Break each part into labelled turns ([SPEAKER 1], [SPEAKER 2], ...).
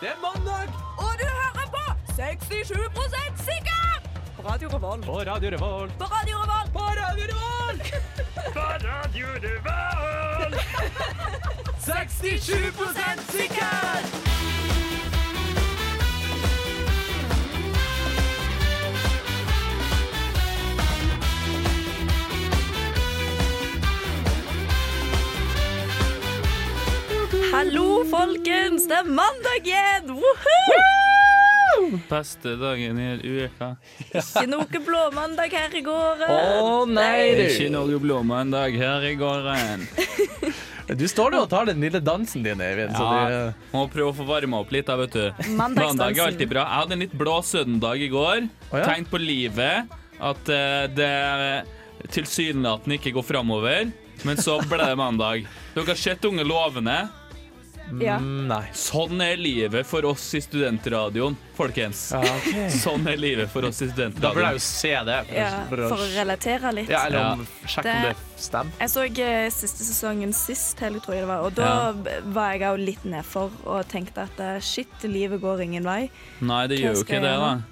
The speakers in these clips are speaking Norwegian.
[SPEAKER 1] Det er mandag
[SPEAKER 2] Og du hører på 67 sikker! På Radio Revolt.
[SPEAKER 1] på Radio Revolt.
[SPEAKER 2] På Radio Revolt.
[SPEAKER 1] På Radio Revolt! på Radio Revolt! 67 sikker!
[SPEAKER 2] Hallo, folkens. Det er mandag igjen! Woohoo!
[SPEAKER 3] Beste dagen i hele uka.
[SPEAKER 2] Ikke noe blåmandag her i gården.
[SPEAKER 1] nei,
[SPEAKER 3] Ikke noe blåmandag her i gården.
[SPEAKER 1] Du står der og tar den lille dansen din, Eivind. så
[SPEAKER 3] Ja,
[SPEAKER 1] det-
[SPEAKER 3] må prøve å få varma opp litt, da, vet du.
[SPEAKER 2] Mandagsdansen.
[SPEAKER 3] Mandag er alltid bra. Jeg hadde en litt blå søndag i går.
[SPEAKER 1] Å, ja?
[SPEAKER 3] Tenkt på livet. At eh, det tilsynelatende ikke går framover. Men så ble det mandag. Dere har sett Unge lovende.
[SPEAKER 2] Ja.
[SPEAKER 1] Mm, Nei.
[SPEAKER 3] Sånn er livet for oss i studentradioen, folkens.
[SPEAKER 1] Ja, ok.
[SPEAKER 3] Sånn er livet for oss i
[SPEAKER 4] Da burde jeg
[SPEAKER 3] studentradioen.
[SPEAKER 4] jo se det.
[SPEAKER 2] ja, for å relatere litt.
[SPEAKER 4] ja, eller om, sjekke om
[SPEAKER 2] Det-
[SPEAKER 4] det stemmer.
[SPEAKER 2] Jeg så eh, siste sesongen sist, hele, tror jeg det var, og da
[SPEAKER 3] Ja.
[SPEAKER 2] b- var jeg òg litt nedfor og tenkte at eh, shit, livet går ingen vei.
[SPEAKER 3] Nei, det gjør jo
[SPEAKER 2] Hva skal jeg
[SPEAKER 3] ikke det, da.
[SPEAKER 2] gjøre?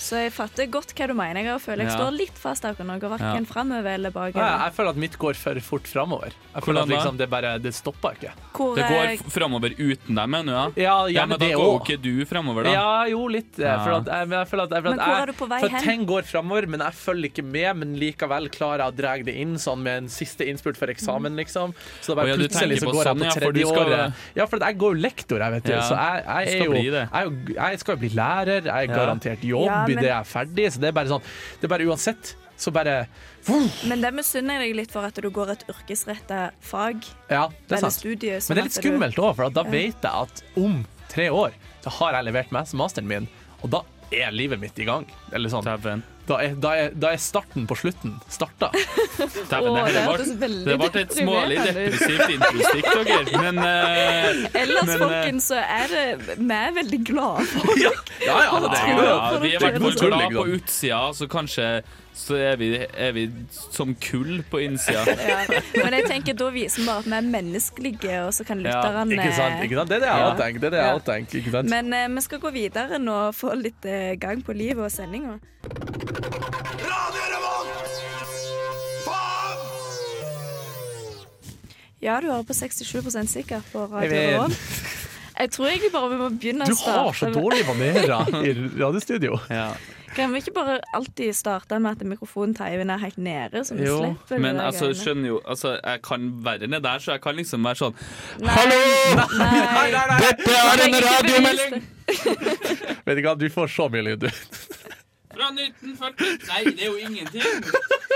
[SPEAKER 2] Så jeg fatter godt hva du mener, og føler jeg
[SPEAKER 3] Ja.
[SPEAKER 2] står litt fast akkurat nå, og
[SPEAKER 3] Ja.
[SPEAKER 2] verken framover eller
[SPEAKER 4] Ja,
[SPEAKER 2] bakover.
[SPEAKER 4] jeg føler at mitt går for fort framover. Jeg føler
[SPEAKER 3] Hvordan
[SPEAKER 4] at
[SPEAKER 3] da?
[SPEAKER 4] liksom, det bare det stopper ikke.
[SPEAKER 2] Hvor,
[SPEAKER 3] Det
[SPEAKER 2] eh,
[SPEAKER 3] går framover uten dem ennå, ja?
[SPEAKER 4] Ja,
[SPEAKER 3] Ja,
[SPEAKER 4] gjerne
[SPEAKER 3] men da
[SPEAKER 4] det
[SPEAKER 3] går jo
[SPEAKER 4] òg.
[SPEAKER 3] ikke du framover, da.
[SPEAKER 4] Ja, jo, litt. eh,
[SPEAKER 3] Ja.
[SPEAKER 4] For at, jeg, men jeg føler at, jeg, for at
[SPEAKER 2] Men hvor
[SPEAKER 4] jeg-
[SPEAKER 2] er du på vei
[SPEAKER 4] For at
[SPEAKER 2] hen?
[SPEAKER 4] ting går framover, men jeg følger ikke med. Men likevel klarer jeg å dra det inn sånn med en siste innspurt for eksamen,
[SPEAKER 2] Mm.
[SPEAKER 4] liksom. Så det
[SPEAKER 3] Å,
[SPEAKER 4] bare
[SPEAKER 3] ja, du
[SPEAKER 4] plutselig
[SPEAKER 3] tenker
[SPEAKER 4] så
[SPEAKER 3] på
[SPEAKER 4] går jeg
[SPEAKER 3] sånn,
[SPEAKER 4] på
[SPEAKER 3] ja, for du
[SPEAKER 4] tredje
[SPEAKER 3] skal-
[SPEAKER 4] året. Ja, for at jeg går jo lektor, jeg, vet du.
[SPEAKER 3] Ja,
[SPEAKER 4] Så jeg,
[SPEAKER 3] du
[SPEAKER 4] jeg
[SPEAKER 3] skal
[SPEAKER 4] er jo
[SPEAKER 3] bli det.
[SPEAKER 4] jeg, er jo- jeg skal jo bli lærer, jeg er
[SPEAKER 3] Ja.
[SPEAKER 4] garantert jobb
[SPEAKER 2] Ja, men-
[SPEAKER 4] idet jeg er ferdig, så det er bare sånn Det er bare uansett. Så bare Vuff!
[SPEAKER 2] Men det misunner jeg deg litt for at du går et yrkesrettet fag.
[SPEAKER 4] Ja, det er
[SPEAKER 2] eller
[SPEAKER 4] sant.
[SPEAKER 2] studie. sånn
[SPEAKER 4] Men det er litt
[SPEAKER 2] at du-
[SPEAKER 4] skummelt òg, for at da vet jeg at om tre år så har jeg levert meg masteren min, og da er livet mitt i gang. Eller sånn.
[SPEAKER 3] Dæven.
[SPEAKER 4] Da er, da, er, da er starten på slutten starta.
[SPEAKER 3] Dæven,
[SPEAKER 5] Åh,
[SPEAKER 3] det
[SPEAKER 5] det
[SPEAKER 3] her
[SPEAKER 5] hørtes
[SPEAKER 3] ble
[SPEAKER 5] veldig
[SPEAKER 3] det ble et smålig
[SPEAKER 5] deprimerende ut.
[SPEAKER 3] depressivt introstikk, dere. Men eh,
[SPEAKER 2] Ellers,
[SPEAKER 3] Men, eh,
[SPEAKER 2] folkens, så er det Vi er veldig glade for
[SPEAKER 4] Ja, ja, det
[SPEAKER 3] ja,
[SPEAKER 4] er jo
[SPEAKER 3] ja, vi er i hvert fall
[SPEAKER 4] Tull,
[SPEAKER 3] glad på
[SPEAKER 4] liksom.
[SPEAKER 3] utsida, så kanskje så er vi, er vi som kull på innsida.
[SPEAKER 2] ja. Men jeg tenker, da viser vi bare at vi er menneskelige, og så kan
[SPEAKER 3] Ja,
[SPEAKER 2] lytterne
[SPEAKER 4] Ikke sant? Ikke sant? Det er det jeg
[SPEAKER 2] Ja.
[SPEAKER 4] har tenkt. Det er det jeg
[SPEAKER 2] Ja.
[SPEAKER 4] har tenkt ikke sant?
[SPEAKER 2] Men eh, vi skal gå videre nå og få litt eh, gang på livet og sendinga. Ja, du hører på 67 sikker på Radio
[SPEAKER 4] Jeg vet.
[SPEAKER 2] Revolt. Jeg tror egentlig bare vi må begynne
[SPEAKER 4] du
[SPEAKER 2] å starte
[SPEAKER 4] har så
[SPEAKER 2] med-
[SPEAKER 4] dårlige manerer i radiostudio.
[SPEAKER 3] Ja.
[SPEAKER 2] Kan vi ikke bare alltid starte med at mikrofonen til Eivind er helt nede, så vi
[SPEAKER 4] Jo,
[SPEAKER 2] slipper det
[SPEAKER 3] Men
[SPEAKER 2] der
[SPEAKER 3] altså,
[SPEAKER 2] greiene?
[SPEAKER 3] skjønner jo altså, Jeg kan være ned der, så jeg kan liksom være sånn
[SPEAKER 2] Nei, Hallo! Nei.
[SPEAKER 3] Dette er en radiomelding!
[SPEAKER 4] Vet du hva, du får så mye lyd, du.
[SPEAKER 3] Fra 1940 Nei, det er jo ingenting.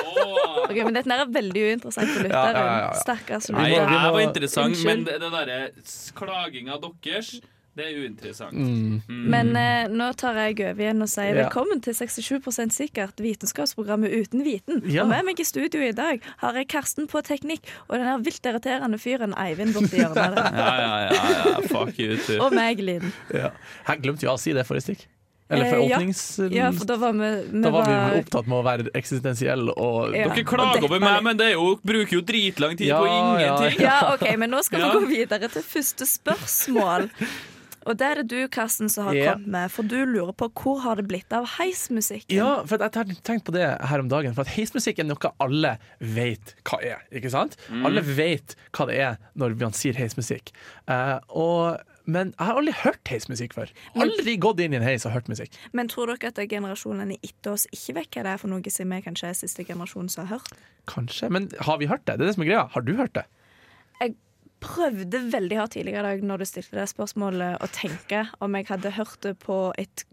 [SPEAKER 3] Åh.
[SPEAKER 2] Ok, men Dette her er veldig uinteressant for
[SPEAKER 4] Ja,
[SPEAKER 2] lytteren.
[SPEAKER 4] ja, ja, ja.
[SPEAKER 2] Stakkars
[SPEAKER 3] Nei,
[SPEAKER 4] Vi må-
[SPEAKER 3] jeg
[SPEAKER 4] vi
[SPEAKER 2] lytter.
[SPEAKER 4] må-
[SPEAKER 3] var interessant,
[SPEAKER 2] Unnskyld.
[SPEAKER 3] men det, det derre s- klaginga deres, det er uinteressant.
[SPEAKER 4] Mm.
[SPEAKER 2] Men eh, nå tar jeg over igjen og sier
[SPEAKER 4] Ja.
[SPEAKER 2] velkommen til 67 sikkert, vitenskapsprogrammet Uten viten.
[SPEAKER 4] Ja.
[SPEAKER 2] Og med meg i studio i dag har jeg Karsten på teknikk og den her vilt irriterende fyren Eivind borti hjørnet. der.
[SPEAKER 3] Ja, ja, ja, ja. Fuck you, too.
[SPEAKER 2] Og meg, Linn.
[SPEAKER 4] Ja. Jeg glemte jo å si det forrige stikk. Eller for
[SPEAKER 2] Eh, ja.
[SPEAKER 4] åpnings...
[SPEAKER 2] Ja, for da var vi, vi
[SPEAKER 4] Da var vi opptatt med å være eksistensiell og
[SPEAKER 2] Ja.
[SPEAKER 4] Dere-
[SPEAKER 3] Dere klager over
[SPEAKER 2] Og dette
[SPEAKER 3] meg,
[SPEAKER 2] er-
[SPEAKER 3] men det er jo, bruker jo dritlang tid
[SPEAKER 4] Ja,
[SPEAKER 3] på
[SPEAKER 4] ja,
[SPEAKER 3] ingenting.
[SPEAKER 2] Ja, OK, men nå skal
[SPEAKER 3] Ja.
[SPEAKER 2] vi gå videre til første spørsmål. Og det er det du, Karsten, som har
[SPEAKER 4] Ja.
[SPEAKER 2] kommet med, for du lurer på hvor har det blitt av heismusikken?
[SPEAKER 4] Ja, for at jeg har tenkt på det her om dagen. For at heismusikk er noe alle vet hva er. ikke sant?
[SPEAKER 3] Mm.
[SPEAKER 4] Alle vet hva det er når man sier heismusikk. Eh, og, men jeg har aldri hørt heismusikk før. Aldri gått inn i en heis og hørt musikk.
[SPEAKER 2] Men tror dere at generasjonene etter oss ikke vet hva det er for noe som vi kanskje er siste generasjon som har hørt?
[SPEAKER 4] Kanskje, Men har vi hørt det? Det er det som er greia. Har du hørt det?
[SPEAKER 2] Jeg prøvde veldig hardt tidligere i dag når du stilte det spørsmålet, å tenke om jeg hadde hørt det på et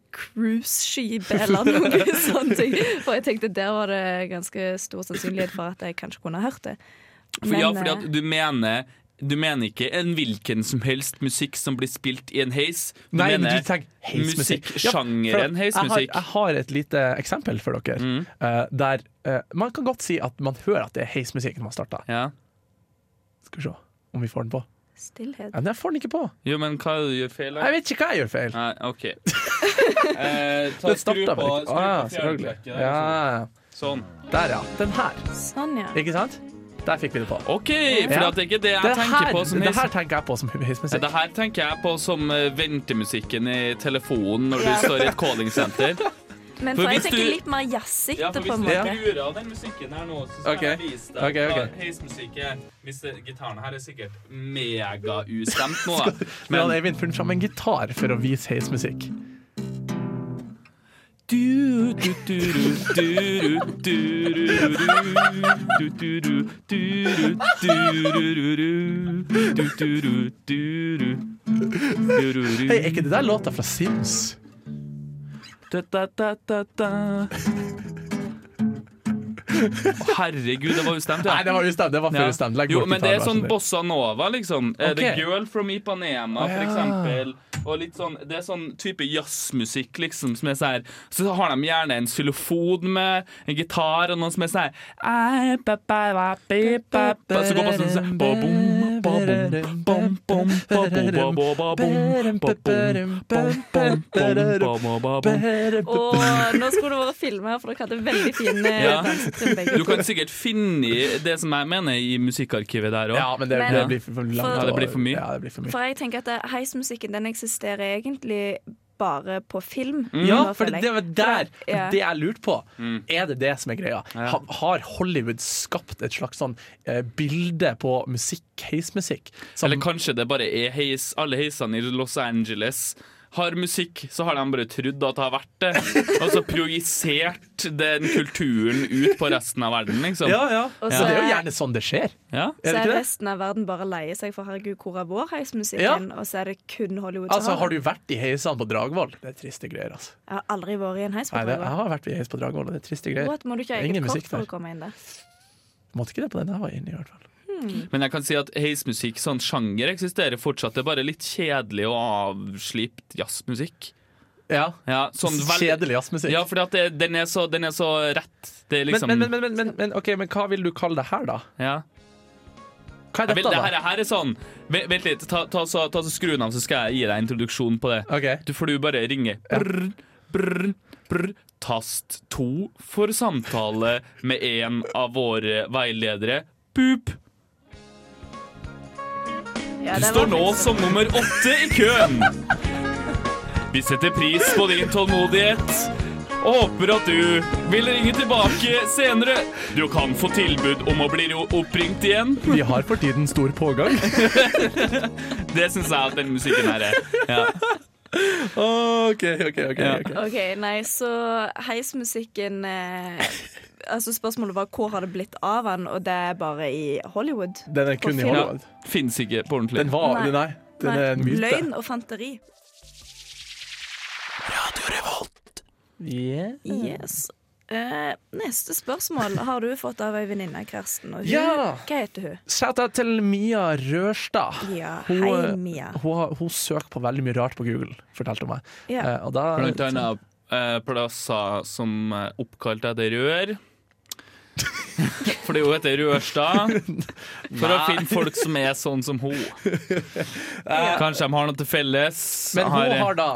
[SPEAKER 2] cruiseskip eller noe sånt. For jeg tenkte der var det ganske stor sannsynlighet for at jeg kanskje kunne ha hørt det.
[SPEAKER 3] For, ja,
[SPEAKER 2] Men, eh,
[SPEAKER 3] fordi at du mener du mener ikke en hvilken som helst musikk som blir spilt i en heis. Du
[SPEAKER 4] Nei, men
[SPEAKER 3] mener
[SPEAKER 4] du tenker heismusikk. Ja, for
[SPEAKER 3] musikksjangeren
[SPEAKER 4] at
[SPEAKER 3] heismusikk. Mm.
[SPEAKER 4] Jeg har, jeg har et lite eksempel for dere. eh, der eh, Man kan godt si at man hører at det er heismusikk når man starter.
[SPEAKER 3] Ja.
[SPEAKER 4] Skal vi se om vi får den på.
[SPEAKER 2] eh, Stillhet.
[SPEAKER 4] Ja, men jeg får den ikke på.
[SPEAKER 3] Jo, men hva er det du gjør feil her?
[SPEAKER 4] Jeg vet ikke hva jeg gjør feil.
[SPEAKER 3] Nei, OK. Eh, ta,
[SPEAKER 4] Den
[SPEAKER 3] skru
[SPEAKER 4] starta
[SPEAKER 3] på, liksom.
[SPEAKER 4] vel ikke? Ah,
[SPEAKER 3] skru på
[SPEAKER 4] ja, selvfølgelig.
[SPEAKER 3] fjernplekken.
[SPEAKER 4] Ja, ja.
[SPEAKER 3] Sånn.
[SPEAKER 4] Der, ja. Den her.
[SPEAKER 2] Sånn, ja.
[SPEAKER 4] Ikke sant? Der fikk vi det på.
[SPEAKER 3] OK, for
[SPEAKER 4] Ja.
[SPEAKER 3] at det er ikke det jeg
[SPEAKER 4] Det
[SPEAKER 3] tenker
[SPEAKER 4] her,
[SPEAKER 3] på som
[SPEAKER 4] det her
[SPEAKER 3] heis-
[SPEAKER 4] tenker jeg på som
[SPEAKER 3] Ja,
[SPEAKER 4] heismusikk.
[SPEAKER 3] det her tenker jeg på som eh, ventemusikken i telefonen når du
[SPEAKER 2] Ja.
[SPEAKER 3] står i et callingsenter.
[SPEAKER 2] Men
[SPEAKER 3] For
[SPEAKER 2] for jeg
[SPEAKER 3] hvis
[SPEAKER 2] tenker
[SPEAKER 3] du-
[SPEAKER 2] litt mer jazzete, på en
[SPEAKER 4] Ja.
[SPEAKER 2] måte.
[SPEAKER 3] skrur av den musikken her nå, så
[SPEAKER 4] Ok. Ok,
[SPEAKER 3] hva
[SPEAKER 4] ok.
[SPEAKER 3] heismusikk er. Hvis det- Gitaren her er sikkert megaustemt nå, da.
[SPEAKER 4] Men han Eivind funnet fram en gitar for å vise heismusikk.
[SPEAKER 3] Du, du, du, du, du, du, du, du, du, du, du, du, du, du, du, du, du, du, du, du, du.
[SPEAKER 4] Hei, er ikke det der låta fra Sims?
[SPEAKER 3] Da, da, da, da, da. Å, Herregud, det var ustemt.
[SPEAKER 4] Nei, det var ustemt. Det var
[SPEAKER 3] Ja.
[SPEAKER 4] før ustemt. Legg
[SPEAKER 3] Jo,
[SPEAKER 4] bort
[SPEAKER 3] men det er sånn
[SPEAKER 4] gitarversjonen.
[SPEAKER 3] bossa nova, liksom. Eh,
[SPEAKER 4] Ok.
[SPEAKER 3] The Girl from Ipanema, for
[SPEAKER 4] Å, ja.
[SPEAKER 3] eksempel. Og litt sånn, det er sånn type jazzmusikk, liksom, som er sånn her Så har de gjerne en xylofon med, en gitar, og noen som er sånn her Så går på sånn sånn ba-bom, ba-bom, bom, bom, ba-bo, ba-bo, ba-bom, ba-bom, bom, bom, bom, ba-bo, ba-bom.
[SPEAKER 2] Og eh, nå skulle det vært filma, for dere hadde veldig fine
[SPEAKER 3] Ja.
[SPEAKER 2] dansetrinn begge
[SPEAKER 3] Du kan sikkert finne det som jeg mener i musikkarkivet der òg.
[SPEAKER 4] Ja, men det,
[SPEAKER 2] Men-
[SPEAKER 4] det blir for for langt.
[SPEAKER 2] Ja,
[SPEAKER 3] det blir for mye.
[SPEAKER 4] Ja, det blir for mye.
[SPEAKER 2] For jeg tenker at eh, heismusikken den eksisterer egentlig bare på film.
[SPEAKER 4] Ja,
[SPEAKER 2] nå
[SPEAKER 4] for
[SPEAKER 2] føler
[SPEAKER 4] det,
[SPEAKER 2] jeg.
[SPEAKER 4] det var der
[SPEAKER 2] Ja.
[SPEAKER 4] det jeg lurte på.
[SPEAKER 3] Mm.
[SPEAKER 4] Er det det som er greia? Ha, har Hollywood skapt et slags sånn eh, bilde på musikk, heismusikk? som-
[SPEAKER 3] Eller kanskje det bare er heis, alle heisene i Los Angeles har musikk, så har de bare trodd at det har vært det. Og så projisert den kulturen ut på resten av verden, liksom.
[SPEAKER 4] ja, ja.
[SPEAKER 2] Og
[SPEAKER 4] Men
[SPEAKER 2] så
[SPEAKER 4] det er jo
[SPEAKER 2] er-
[SPEAKER 4] gjerne sånn det skjer.
[SPEAKER 3] Ja.
[SPEAKER 4] Er
[SPEAKER 2] Så
[SPEAKER 4] det
[SPEAKER 2] er
[SPEAKER 4] ikke det?
[SPEAKER 2] resten av verden bare leier seg for herregud, hvor er vår heismusikken?
[SPEAKER 4] Ja.
[SPEAKER 2] Og så er det kun Hollywood
[SPEAKER 4] Altså,
[SPEAKER 2] som
[SPEAKER 4] Har
[SPEAKER 2] har det.
[SPEAKER 4] du vært i heisene på Dragvoll? Det er triste greier. altså
[SPEAKER 2] Jeg har aldri vært i en heis på
[SPEAKER 4] Nei, det,
[SPEAKER 2] Dragvoll.
[SPEAKER 4] Jeg har vært i heis på Dragvoll, og det er triste greier.
[SPEAKER 2] What, Må du ikke ha
[SPEAKER 4] Det er ingen
[SPEAKER 2] eget
[SPEAKER 4] musikk
[SPEAKER 2] kort for
[SPEAKER 4] der.
[SPEAKER 2] å komme inn der?
[SPEAKER 4] Måtte ikke det på den jeg var inne i, i hvert fall.
[SPEAKER 3] Men jeg kan si at heismusikk, sånn sjanger, eksisterer fortsatt. Det er bare litt kjedelig og avslipt jazzmusikk.
[SPEAKER 4] Ja,
[SPEAKER 3] Ja, sånn vel-
[SPEAKER 4] Kjedelig jazzmusikk.
[SPEAKER 3] Ja, for den, er så- den er så rett. Det er liksom
[SPEAKER 4] men, men, men, men, men, men, ok, men hva vil du kalle det her, da?
[SPEAKER 3] Ja.
[SPEAKER 4] Hva er
[SPEAKER 3] Vel,
[SPEAKER 4] dette,
[SPEAKER 3] det her,
[SPEAKER 4] da?
[SPEAKER 3] her er sånn Vent vent litt, ta, ta, så, ta så skru den av, så skal jeg gi deg en introduksjon på det.
[SPEAKER 4] Ok.
[SPEAKER 3] Du får du bare ringe brr, brr, brr, Tast to for samtale med en av våre veiledere Boop
[SPEAKER 2] Ja,
[SPEAKER 3] Du
[SPEAKER 2] det var
[SPEAKER 3] står nå
[SPEAKER 2] faktisk-
[SPEAKER 3] som nummer åtte i køen Vi setter pris på din tålmodighet og håper at du vil ringe tilbake senere Du kan få tilbud om å bli ro- oppringt igjen
[SPEAKER 4] Vi har for tiden stor pågang.
[SPEAKER 3] Det synes jeg at den musikken her er ja.
[SPEAKER 4] OK, OK. ok,
[SPEAKER 3] Ja.
[SPEAKER 4] ok.
[SPEAKER 2] OK, nei, så heismusikken eh, Altså, spørsmålet var hvor har det blitt av han, og det er bare i Hollywood.
[SPEAKER 4] Den er kun
[SPEAKER 2] På
[SPEAKER 4] i
[SPEAKER 2] film.
[SPEAKER 4] Hollywood.
[SPEAKER 3] Finnes ikke på ordentlig
[SPEAKER 4] Den var
[SPEAKER 2] Nei.
[SPEAKER 4] Nei. Den er en
[SPEAKER 2] Nei,
[SPEAKER 4] myte.
[SPEAKER 2] Løgn og fanteri.
[SPEAKER 4] Mm.
[SPEAKER 2] Yes. Eh, neste spørsmål har du fått av ei venninne, Karsten. Og hun,
[SPEAKER 4] Ja!
[SPEAKER 2] Hva heter hun?
[SPEAKER 4] Shout out til Mia Rørstad.
[SPEAKER 2] Ja,
[SPEAKER 4] Hun,
[SPEAKER 2] hei, Mia.
[SPEAKER 4] Hun, har- hun søker på veldig mye rart på Google, fortalte hun meg.
[SPEAKER 2] Ja.
[SPEAKER 4] Eh, og da,
[SPEAKER 3] Blant annet eh, plasser som eh, oppkalt etter rør. For det er jo heter Rørstad. For å finne folk som er sånn som hun. Kanskje de har noe til felles.
[SPEAKER 4] men hun
[SPEAKER 3] har, eh,
[SPEAKER 4] har da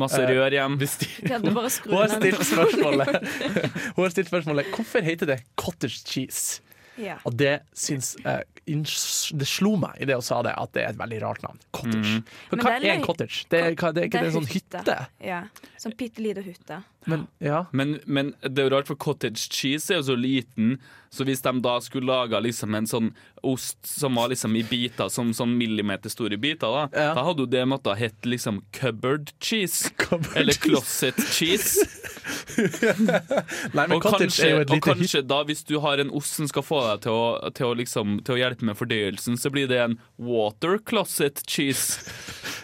[SPEAKER 3] masse
[SPEAKER 4] eh,
[SPEAKER 3] rør hjem.
[SPEAKER 4] bestilt
[SPEAKER 2] Kan du bare skru
[SPEAKER 4] hun har
[SPEAKER 2] ned?
[SPEAKER 4] stilt spørsmålet Hun har stilt spørsmålet Hvorfor heter det cottage cheese?
[SPEAKER 2] Ja.
[SPEAKER 4] Og det, syns, eh, inns- det slo meg i det hun sa det, at det er et veldig rart navn. Cottage. For
[SPEAKER 2] Men
[SPEAKER 4] hva
[SPEAKER 2] det er
[SPEAKER 4] er en
[SPEAKER 2] løy-
[SPEAKER 4] cottage? Det er, hva, det er ikke det, en sånn hytte?
[SPEAKER 2] Ja. Sånn bitte lita hytte.
[SPEAKER 4] Men, ja.
[SPEAKER 3] Men, men det er jo rart, for cottage cheese er jo så liten, så hvis de da skulle laga liksom en sånn ost som var liksom i biter, som sånn millimeterstore biter, da,
[SPEAKER 4] Ja.
[SPEAKER 3] da hadde jo det måttet hett liksom cupboard cheese.
[SPEAKER 4] Cupboard
[SPEAKER 3] eller
[SPEAKER 4] cheese.
[SPEAKER 3] closet cheese.
[SPEAKER 4] Nei, men
[SPEAKER 3] og
[SPEAKER 4] cottage
[SPEAKER 3] kanskje,
[SPEAKER 4] er jo et
[SPEAKER 3] og
[SPEAKER 4] lite hytte.
[SPEAKER 3] kanskje da hvis du har en ost som skal få deg til å, til å, liksom, til å hjelpe med fordøyelsen, så blir det en water closet cheese.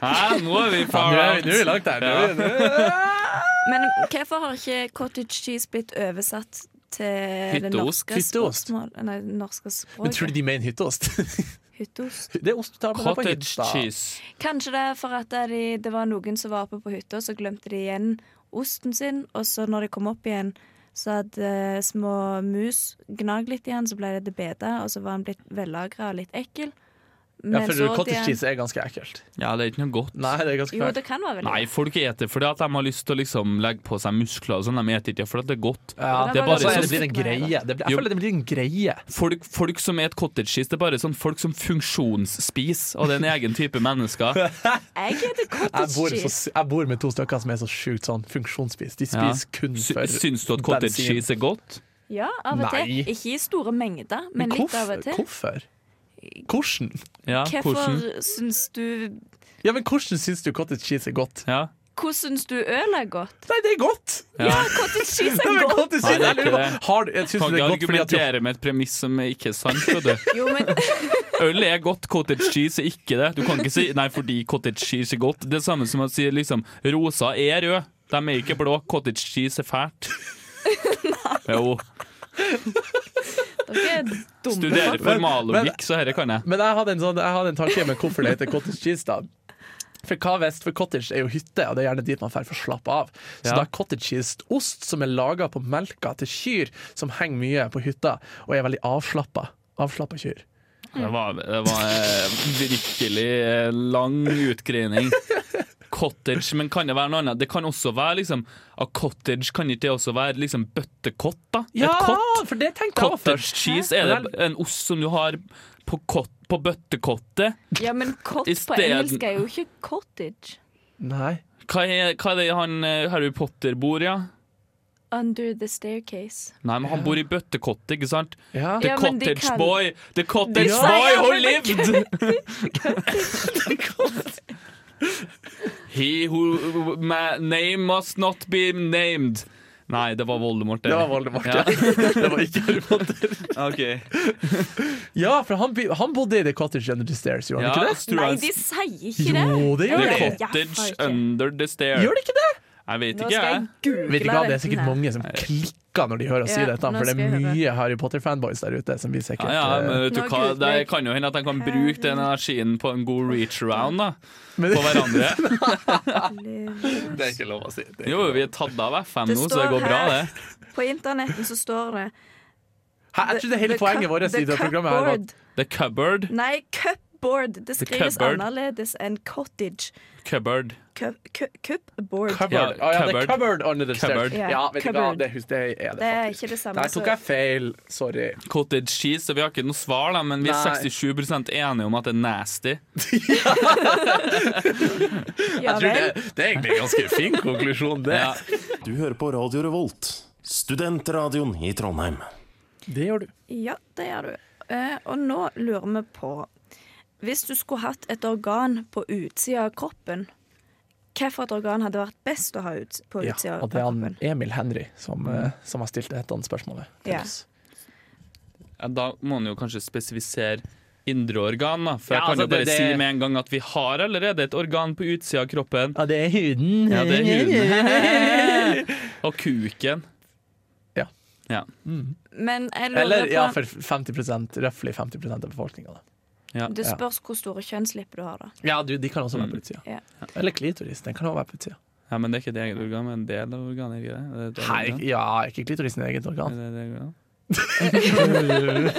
[SPEAKER 3] Hæ, nå er vi
[SPEAKER 4] Ja,
[SPEAKER 3] far
[SPEAKER 4] nå er vi-
[SPEAKER 3] out.
[SPEAKER 4] nå er vi langt der. Nå er vi-
[SPEAKER 2] Men hvorfor har ikke cottage cheese blitt oversatt til det
[SPEAKER 3] Hytteost.
[SPEAKER 2] norske
[SPEAKER 4] Hytteost.
[SPEAKER 2] spørsmål- Nei, det norske
[SPEAKER 4] Men tror du
[SPEAKER 2] språket?
[SPEAKER 4] de mener hytteost?
[SPEAKER 2] Hytteost.
[SPEAKER 4] Det er ost du tar på på
[SPEAKER 3] Cottage
[SPEAKER 4] hytta.
[SPEAKER 3] cheese.
[SPEAKER 2] Kanskje det er for at de, det var noen som var oppe på hytta, så glemte de igjen osten sin, og så når de kom opp igjen, så hadde eh, små mus gnagd litt i han, så ble det til bete, og så var han blitt vellagra og litt ekkel. Men
[SPEAKER 4] Ja, for
[SPEAKER 2] så
[SPEAKER 4] cottage
[SPEAKER 2] det-
[SPEAKER 4] cheese er ganske ekkelt.
[SPEAKER 3] Ja, det er ikke noe godt.
[SPEAKER 4] Nei, det er ganske
[SPEAKER 2] Jo,
[SPEAKER 4] fælt.
[SPEAKER 2] det kan være veldig
[SPEAKER 3] Nei, folk eter fordi at de har lyst til å liksom legge på seg muskler og sånn. De eter ikke fordi at det er godt.
[SPEAKER 4] Ja,
[SPEAKER 2] Det
[SPEAKER 3] Det er bare
[SPEAKER 4] så er
[SPEAKER 3] sånn
[SPEAKER 4] det blitt en greie. Det blir, jeg
[SPEAKER 3] Jo.
[SPEAKER 4] føler det blir en greie.
[SPEAKER 3] Folk, folk som et cottage cheese, det er bare sånn folk som funksjonsspiser, og det er en egen type mennesker.
[SPEAKER 2] Jeg heter
[SPEAKER 4] Jeg
[SPEAKER 2] cottage
[SPEAKER 4] bor, så,
[SPEAKER 2] cheese.
[SPEAKER 4] jeg bor med to stykker som er så sjukt sånn funksjonsspist. De
[SPEAKER 3] Ja.
[SPEAKER 4] spiser kun
[SPEAKER 3] Sy-
[SPEAKER 4] for
[SPEAKER 3] Syns du at cottage
[SPEAKER 4] bensin.
[SPEAKER 3] cheese er godt?
[SPEAKER 2] Ja, av og til.
[SPEAKER 4] Nei.
[SPEAKER 2] Ikke i store mengder, men, litt av
[SPEAKER 4] hvorfor?
[SPEAKER 2] og til.
[SPEAKER 4] Hvorfor? Hvordan?
[SPEAKER 3] Ja, hvordan?
[SPEAKER 2] Hvorfor syns du
[SPEAKER 4] Ja, men hvordan syns du cottage cheese er godt?
[SPEAKER 3] Ja.
[SPEAKER 2] Hvordan syns du øl er godt?
[SPEAKER 4] Nei, det er godt!
[SPEAKER 3] Ja.
[SPEAKER 2] Ja, cottage cheese
[SPEAKER 4] Nei,
[SPEAKER 2] er
[SPEAKER 4] men
[SPEAKER 2] godt!
[SPEAKER 4] cottage
[SPEAKER 3] Nei,
[SPEAKER 4] cheese,
[SPEAKER 3] det er
[SPEAKER 4] jeg lurer
[SPEAKER 3] ikke
[SPEAKER 4] på har, jeg synes
[SPEAKER 3] Kan
[SPEAKER 4] det
[SPEAKER 3] ikke
[SPEAKER 4] er godt fordi at du
[SPEAKER 3] argumentere med et premiss som ikke er sant. vet du.
[SPEAKER 2] Jo, men
[SPEAKER 3] Øl er godt, cottage cheese er ikke det. Du kan ikke si 'nei, fordi cottage cheese er godt'. Det er samme som å si liksom 'rosa er rød'. De er ikke blå. Cottage cheese er fælt. Jo.
[SPEAKER 2] dere er dumme.
[SPEAKER 3] Studerer formalogikk, så dette kan jeg.
[SPEAKER 4] Men jeg hadde en, sånn, jeg hadde en tanke med hvorfor det heter cottage cheese. da For hva vest, for cottage er jo hytte, og det er gjerne dit man drar for å slappe av. Så
[SPEAKER 3] Ja.
[SPEAKER 4] da er cottage cheese ost som er laga på melka til kyr som henger mye på hytta, og er veldig avslappa. Avslappa kyr.
[SPEAKER 3] Det var, det var eh, virkelig eh, lang utgreining. Cottage, men kan det være noe annet? Det kan også være liksom ah, Cottage kan ikke det også være liksom bøttekott, da? Et kott?
[SPEAKER 4] for det tenkte jeg også
[SPEAKER 3] Cottage
[SPEAKER 4] først.
[SPEAKER 3] cheese, er det en ost som du har på, kott, på bøttekottet?
[SPEAKER 2] Ja, men kott
[SPEAKER 3] I
[SPEAKER 2] på
[SPEAKER 3] stedet-
[SPEAKER 2] engelsk er jo ikke cottage.
[SPEAKER 4] Nei.
[SPEAKER 3] Hva er, hva er det han eh, Harry Potter bor i? Ja?
[SPEAKER 2] Under the staircase.
[SPEAKER 3] Nei, men han bor i bøttekottet, ikke sant?
[SPEAKER 4] Ja.
[SPEAKER 3] The
[SPEAKER 2] Ja, men de
[SPEAKER 3] cottage
[SPEAKER 2] kan-
[SPEAKER 3] boy! The cottage
[SPEAKER 4] Ja.
[SPEAKER 3] boy who
[SPEAKER 2] Ja, men det
[SPEAKER 3] lived! He who my name must not be named. Nei, det var Voldemort.
[SPEAKER 4] Det var Voldemort,
[SPEAKER 3] Ja.
[SPEAKER 4] ja. det var ikke Harry Potter. Ja, for han, by- han bodde i The Cottage Under the Stairs, gjorde han
[SPEAKER 3] Ja,
[SPEAKER 4] ikke det?
[SPEAKER 3] tror
[SPEAKER 2] Nei,
[SPEAKER 3] jeg-
[SPEAKER 2] de sier ikke det.
[SPEAKER 4] Jo, det gjør
[SPEAKER 2] Ja,
[SPEAKER 3] The
[SPEAKER 4] det.
[SPEAKER 2] ja, ja,
[SPEAKER 3] cottage
[SPEAKER 2] faen ikke.
[SPEAKER 3] under the stair.
[SPEAKER 4] Gjør det ikke det?
[SPEAKER 3] Jeg vet
[SPEAKER 2] Nå
[SPEAKER 3] ikke,
[SPEAKER 2] skal
[SPEAKER 3] jeg.
[SPEAKER 2] jeg google
[SPEAKER 4] Vet ikke hva, Det er sikkert
[SPEAKER 2] dette.
[SPEAKER 4] mange som klikker når de hører oss si
[SPEAKER 2] Ja,
[SPEAKER 4] dette, for
[SPEAKER 2] nå
[SPEAKER 4] det
[SPEAKER 2] skal
[SPEAKER 4] er
[SPEAKER 2] jeg høre.
[SPEAKER 4] mye Harry Potter-fanboys der ute som vi sikkert
[SPEAKER 3] Ja, ja, men
[SPEAKER 4] eh,
[SPEAKER 3] vet du
[SPEAKER 2] Nå
[SPEAKER 3] hva?
[SPEAKER 2] googler
[SPEAKER 3] Det
[SPEAKER 2] jeg.
[SPEAKER 3] kan jo hende at de kan bruke den energien på en god reach-around da
[SPEAKER 4] men-
[SPEAKER 3] på hverandre.
[SPEAKER 4] Det er ikke lov å si. Det er
[SPEAKER 3] Jo,
[SPEAKER 4] ikke lov.
[SPEAKER 3] vi er tatt av FM
[SPEAKER 2] Det
[SPEAKER 3] nå, så det
[SPEAKER 2] står
[SPEAKER 3] går bra,
[SPEAKER 2] her.
[SPEAKER 3] det.
[SPEAKER 2] På internetten så står det
[SPEAKER 4] Hæ, jeg trodde hele
[SPEAKER 2] The
[SPEAKER 4] poenget
[SPEAKER 2] cup-
[SPEAKER 4] vårt i
[SPEAKER 2] the
[SPEAKER 4] det programmet her var
[SPEAKER 2] cupboard.
[SPEAKER 3] The cupboard.
[SPEAKER 2] Nei, cupboard. Det skrives
[SPEAKER 3] cupboard.
[SPEAKER 2] annerledes enn cottage.
[SPEAKER 3] Cupboard.
[SPEAKER 2] Cup- cu- Cupboard.
[SPEAKER 4] cupboard.
[SPEAKER 3] Ja,
[SPEAKER 4] Å, ja, det
[SPEAKER 3] cupboard.
[SPEAKER 4] er cupboard under the stairs.
[SPEAKER 3] Cupboard.
[SPEAKER 2] Ja,
[SPEAKER 4] Ja, vet du hva,
[SPEAKER 2] cupboard.
[SPEAKER 4] det, hus- det er
[SPEAKER 2] Det
[SPEAKER 4] det
[SPEAKER 2] er
[SPEAKER 4] faktisk.
[SPEAKER 2] ikke det samme
[SPEAKER 4] Der tok jeg feil. Sorry.
[SPEAKER 3] Cottage cheese, så vi har ikke noe svar, da, men vi er
[SPEAKER 4] Nei.
[SPEAKER 3] 67 enige om at det er nasty.
[SPEAKER 2] som ja,
[SPEAKER 4] Jeg tror det,
[SPEAKER 2] vel.
[SPEAKER 4] det er egentlig en ganske fin konklusjon, det.
[SPEAKER 3] Ja.
[SPEAKER 5] Du hører på Radio Revolt, studentradioen i Trondheim.
[SPEAKER 4] Det gjør du.
[SPEAKER 2] ja, det gjør du. Eh, og nå lurer vi på Hvis du skulle hatt et organ på utsida av kroppen, hvilket organ hadde vært best å ha ut, på
[SPEAKER 4] Ja,
[SPEAKER 2] utsida av
[SPEAKER 4] og det er
[SPEAKER 2] kroppen?
[SPEAKER 4] han Emil Henry som, eh, som har stilt dette spørsmålet til
[SPEAKER 2] Ja.
[SPEAKER 4] oss.
[SPEAKER 3] Ja, Da må man jo kanskje spesifisere indre organ, da. For
[SPEAKER 4] Ja,
[SPEAKER 3] jeg kan
[SPEAKER 4] altså,
[SPEAKER 3] jo bare
[SPEAKER 4] det- det-
[SPEAKER 3] si med en gang at vi har allerede et organ på utsida av kroppen.
[SPEAKER 4] Ja, det er huden.
[SPEAKER 3] Ja, det er huden. Og kuken.
[SPEAKER 4] Ja.
[SPEAKER 3] Ja.
[SPEAKER 2] Men jeg lurer
[SPEAKER 4] Eller
[SPEAKER 2] på
[SPEAKER 4] ja, for 50 røftlig 50 av befolkninga.
[SPEAKER 3] Ja.
[SPEAKER 2] Det spørs hvor store kjønnslepper du har, da.
[SPEAKER 4] Ja, du, de kan også være på utsida.
[SPEAKER 2] Ja.
[SPEAKER 4] Eller klitoris. Den kan også være på utsida.
[SPEAKER 3] ja, men det er ikke et eget organ, men en del av organet. er ikke det? Er det et
[SPEAKER 4] Nei,
[SPEAKER 3] organ?
[SPEAKER 4] ikke- ja, ikke klitorisen i eget organ.
[SPEAKER 3] Er det det organ? Jeg blir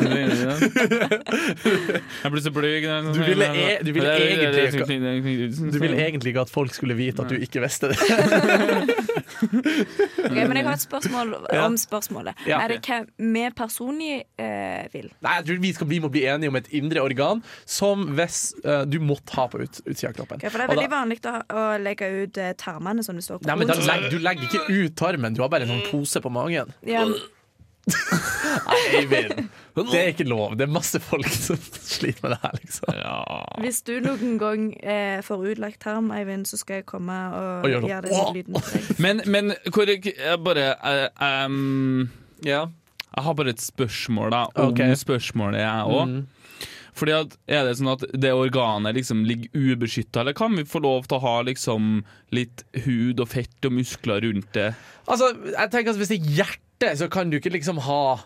[SPEAKER 3] så blyg.
[SPEAKER 4] Du ville e- du ville
[SPEAKER 3] egentlig
[SPEAKER 4] Du ville e- egentlig ikke at folk skulle vite at du ikke visste det.
[SPEAKER 2] Ok, men jeg har et spørsmål
[SPEAKER 4] Ja.
[SPEAKER 2] om spørsmålet.
[SPEAKER 4] Ja.
[SPEAKER 2] Er det hva vi personlig eh, vil?
[SPEAKER 4] Nei, jeg tror vi, skal, vi må bli enige om et indre organ som hvis eh, du måtte ha på ut, utsida av kroppen.
[SPEAKER 2] Ja, for det er
[SPEAKER 4] Og da-
[SPEAKER 2] veldig vanlig å, å legge ut eh, tarmene som det står
[SPEAKER 4] Nei, men da legg, Du legger ikke ut tarmen, du har bare en sånn pose på magen.
[SPEAKER 2] Ja, men-
[SPEAKER 4] Eivind, det er ikke lov. Det er masse folk som sliter med det her, liksom.
[SPEAKER 2] hvis du noen gang eh, får utlagt tarm, Eivind, så skal jeg komme og,
[SPEAKER 4] Og gjøre sånn.
[SPEAKER 2] gjøre den lyden for deg.
[SPEAKER 3] Men, men hvor jeg bare eh, em, Jeg har bare et spørsmål da om
[SPEAKER 4] Ok. Mm.
[SPEAKER 3] spørsmålet, jeg òg. Fordi at, Er det sånn at det organet liksom ligger ubeskytta, eller kan vi få lov til å ha liksom litt hud og fett og muskler rundt det?
[SPEAKER 4] Altså, jeg tenker at Hvis det er hjertet, så kan du ikke liksom ha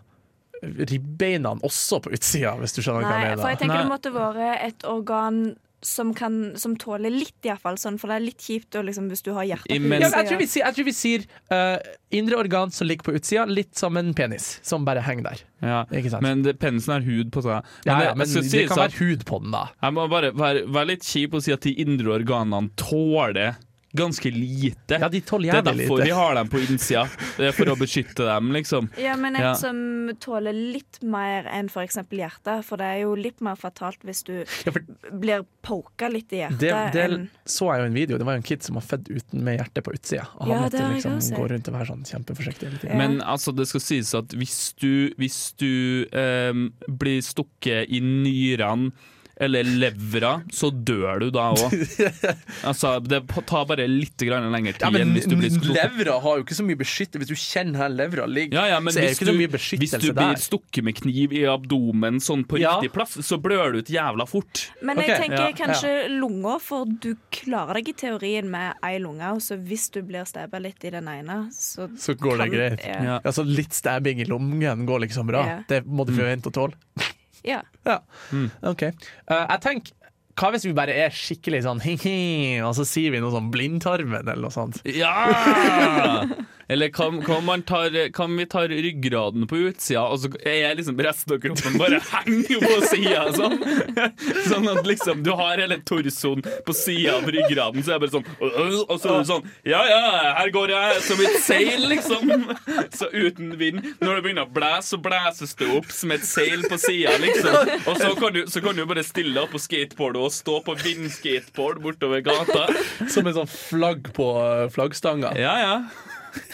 [SPEAKER 4] ribbeina også på utsida, hvis du skjønner hva
[SPEAKER 2] Nei,
[SPEAKER 4] jeg
[SPEAKER 2] for jeg
[SPEAKER 4] mener.
[SPEAKER 2] tenker
[SPEAKER 3] Nei.
[SPEAKER 2] det måtte være et organ som, kan, som tåler litt, iallfall. Sånn, for det er litt kjipt å liksom, hvis du har hjertet
[SPEAKER 3] Imens-
[SPEAKER 4] Ja, men jeg, tror vi sier, jeg tror vi sier eh, indre organ som ligger på utsida, litt som en penis som bare henger der.
[SPEAKER 3] Ja.
[SPEAKER 4] Ikke sant?
[SPEAKER 3] Men det, penisen har hud på seg. Men,
[SPEAKER 4] Ja,
[SPEAKER 3] det-
[SPEAKER 4] ja, men
[SPEAKER 3] jeg skal
[SPEAKER 4] det, altså,
[SPEAKER 3] si
[SPEAKER 4] kan
[SPEAKER 3] så-
[SPEAKER 4] være hud på den, da.
[SPEAKER 3] Jeg må bare være, være litt kjip og si at de indre organene tåler ganske lite.
[SPEAKER 4] Ja, de tåler
[SPEAKER 3] det er
[SPEAKER 4] jævlig
[SPEAKER 3] derfor
[SPEAKER 4] lite.
[SPEAKER 3] vi har dem på innsida. Det er for å beskytte dem, liksom.
[SPEAKER 2] Ja, men en
[SPEAKER 3] Ja.
[SPEAKER 2] som tåler litt mer enn f.eks. hjertet. For det er jo litt mer fatalt hvis du
[SPEAKER 4] Ja, for
[SPEAKER 2] blir poka litt i hjertet.
[SPEAKER 4] det, det
[SPEAKER 2] enn-
[SPEAKER 4] så jeg jo i en video. Det var jo en kid som var født uten med hjertet på utsida. Og han
[SPEAKER 2] Ja, det
[SPEAKER 4] måtte
[SPEAKER 2] har jeg
[SPEAKER 4] liksom
[SPEAKER 2] også sett.
[SPEAKER 4] gå rundt og være sånn kjempeforsiktig hele tiden.
[SPEAKER 2] Ja.
[SPEAKER 3] Men altså, det skal sies at hvis du, hvis du ehm, blir stukket i nyrene eller levra, så dør du da òg. Altså, det p- tar bare litt grann lengre tid enn hvis du blir stukket.
[SPEAKER 4] levra har jo ikke så mye beskyttelse. Hvis du kjenner her levra ligger,
[SPEAKER 3] Ja, ja, men
[SPEAKER 4] så er det
[SPEAKER 3] hvis,
[SPEAKER 4] ikke så
[SPEAKER 3] du,
[SPEAKER 4] mye
[SPEAKER 3] hvis du
[SPEAKER 4] beskyttelse
[SPEAKER 3] blir
[SPEAKER 4] der.
[SPEAKER 3] stukket med kniv i abdomen sånn på
[SPEAKER 4] Ja.
[SPEAKER 3] riktig plass, så blør du ut jævla fort.
[SPEAKER 2] Men
[SPEAKER 4] Ok,
[SPEAKER 2] jeg tenker
[SPEAKER 4] ja,
[SPEAKER 2] kanskje lunga, for du klarer deg i teorien med ei lunge. Og så hvis du blir stabba litt i den ene, så,
[SPEAKER 4] Så går det greit.
[SPEAKER 2] Ja.
[SPEAKER 3] Ja. Mm.
[SPEAKER 4] Altså, litt stabbing i lungen går liksom bra.
[SPEAKER 2] Ja.
[SPEAKER 4] Det må du forvente å tåle.
[SPEAKER 2] Ja.
[SPEAKER 4] Ja. OK. Eh, jeg tenker hva hvis vi bare er skikkelig sånn hi-hi, og så sier vi noe sånn blindtarmen eller noe sånt?
[SPEAKER 3] Ja! Eller kan, kan, man tar, kan vi ta ryggraden på utsida, og så er liksom resten av kroppen bare henger på sida? Sånn. sånn at liksom du har hele torsoen på sida av ryggraden, så er det bare sånn Og så er du sånn Ja, ja, her går jeg som et seil, liksom. Så uten vind. Når det begynner å blæse, så blæses det opp som et seil på sida, liksom. Og så kan, du, så kan du bare stille opp på skateboardet og stå på vindskateboard bortover gata.
[SPEAKER 4] Som en sånn flagg på eh, flaggstanga.
[SPEAKER 3] Ja, ja.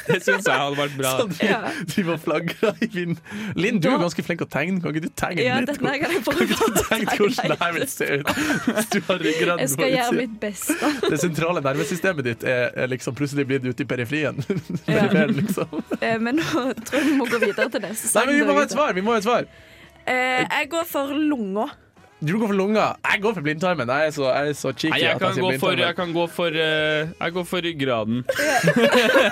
[SPEAKER 3] Det syns jeg hadde vært bra.
[SPEAKER 4] Sånn,
[SPEAKER 2] Ja.
[SPEAKER 4] De var flagga i vinden. Linn, du er jo ganske flink til å tegne. Kan ikke du tegne
[SPEAKER 2] ja,
[SPEAKER 4] litt?
[SPEAKER 2] dette her kan jeg prøve å
[SPEAKER 4] Tenk hvordan det her vil se ut. Hvis du har ryggraden på
[SPEAKER 2] Jeg skal gjøre
[SPEAKER 4] utsiden.
[SPEAKER 2] mitt beste.
[SPEAKER 4] Det sentrale nervesystemet ditt er, er liksom plutselig blitt ute i periferien. Perifer, liksom.
[SPEAKER 2] Eh, Men nå tror jeg vi må gå videre til neste
[SPEAKER 4] Nei,
[SPEAKER 2] sang.
[SPEAKER 4] men vi må
[SPEAKER 2] da,
[SPEAKER 4] ha et
[SPEAKER 2] gutter.
[SPEAKER 4] svar! vi må ha et svar
[SPEAKER 2] Eh, Jeg går for lunga.
[SPEAKER 4] Du går for lunga. Jeg går for blindtarmen. Jeg er så, jeg er så cheeky
[SPEAKER 3] Nei, jeg
[SPEAKER 4] at
[SPEAKER 3] kan
[SPEAKER 4] sier
[SPEAKER 3] gå for, jeg
[SPEAKER 4] blindtarmen.
[SPEAKER 3] kan gå for, eh, jeg går for ryggraden.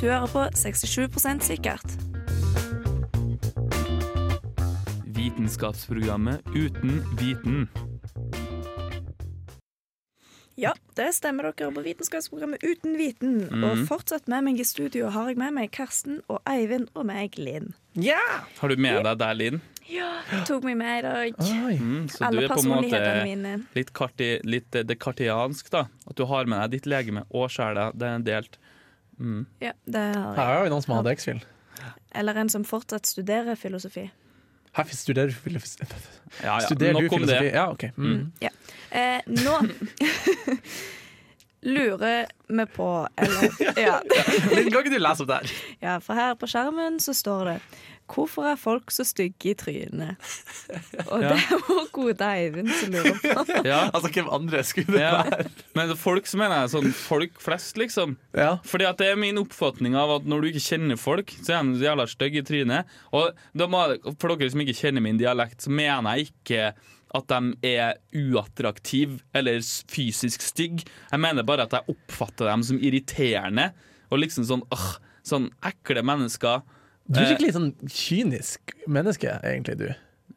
[SPEAKER 2] Du hører på 67 sikkert.
[SPEAKER 3] Vitenskapsprogrammet uten viten.
[SPEAKER 2] Ja, det stemmer dere på Vitenskapsprogrammet Uten viten.
[SPEAKER 4] Mm.
[SPEAKER 2] Og fortsatt med meg i studio har jeg med meg Karsten og Eivind og meg, Linn.
[SPEAKER 3] Har du med deg deg, Linn?
[SPEAKER 2] Ja, tok meg med i dag.
[SPEAKER 4] Oi.
[SPEAKER 3] Mm, så du
[SPEAKER 2] Alle
[SPEAKER 3] er på en måte
[SPEAKER 2] personlighetene mine.
[SPEAKER 3] litt, karti, litt eh, det kartiansk, da. At du har med deg ditt legeme og sjela. Det er delt. Mm.
[SPEAKER 2] Ja, det har jeg.
[SPEAKER 4] Her har vi noen som hadde X-fil.
[SPEAKER 2] Eller en som fortsatt studerer filosofi.
[SPEAKER 4] Her studerer du filosofi.
[SPEAKER 3] Ah, Ja, ja.
[SPEAKER 4] Studerer du
[SPEAKER 3] Nok om det.
[SPEAKER 4] filosofi? Ja, ok. Mm.
[SPEAKER 2] Eh, nå lurer vi på eller, ja,
[SPEAKER 4] Linn, kan ikke du lese opp det her?
[SPEAKER 2] ja, for her på skjermen så står det Hvorfor er folk så stygge i trynet? Og det er vår gode Eivind som lurer på.
[SPEAKER 3] Ja.
[SPEAKER 4] Altså, hvem andre skulle det
[SPEAKER 3] Ja.
[SPEAKER 4] være?
[SPEAKER 3] Men folk som mener jeg sånn folk flest, liksom.
[SPEAKER 4] Ja.
[SPEAKER 3] Fordi at det er min oppfatning av at når du ikke kjenner folk, så er de så jævla stygge i trynet. Og da må, for dere som ikke kjenner min dialekt, så mener jeg ikke at de er uattraktive eller s- fysisk stygge. Jeg mener bare at jeg oppfatter dem som irriterende. Og liksom sånn åh, sånn ekle mennesker.
[SPEAKER 4] Du er
[SPEAKER 3] Eh,
[SPEAKER 4] skikkelig sånn kynisk menneske, egentlig, du.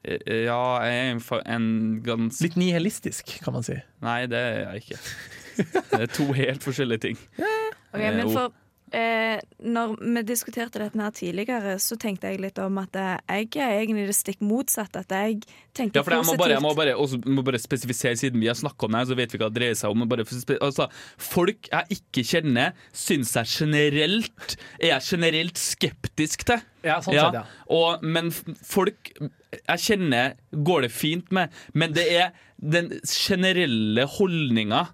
[SPEAKER 3] eh, Ja, jeg er en, fa- en ganske
[SPEAKER 4] Litt nihilistisk, kan man si.
[SPEAKER 3] Nei, det er jeg ikke. Det er to helt forskjellige ting.
[SPEAKER 2] Ok, men for eh, Når vi diskuterte dette her tidligere, så tenkte jeg litt om at eh, jeg er egentlig det stikk motsatte. At jeg tenker
[SPEAKER 3] Ja, for jeg må
[SPEAKER 2] positivt.
[SPEAKER 3] bare, jeg må bare, også, må bare spesifisere, siden vi har snakka om det, her, så vet vi hva det dreier seg om. men Bare, for spe- altså, folk jeg ikke kjenner, syns jeg generelt er jeg generelt skeptisk til.
[SPEAKER 4] Ja, sånn
[SPEAKER 3] Ja,
[SPEAKER 4] sett, ja.
[SPEAKER 3] og, men f- folk jeg kjenner går det fint med, men det er den generelle holdninga.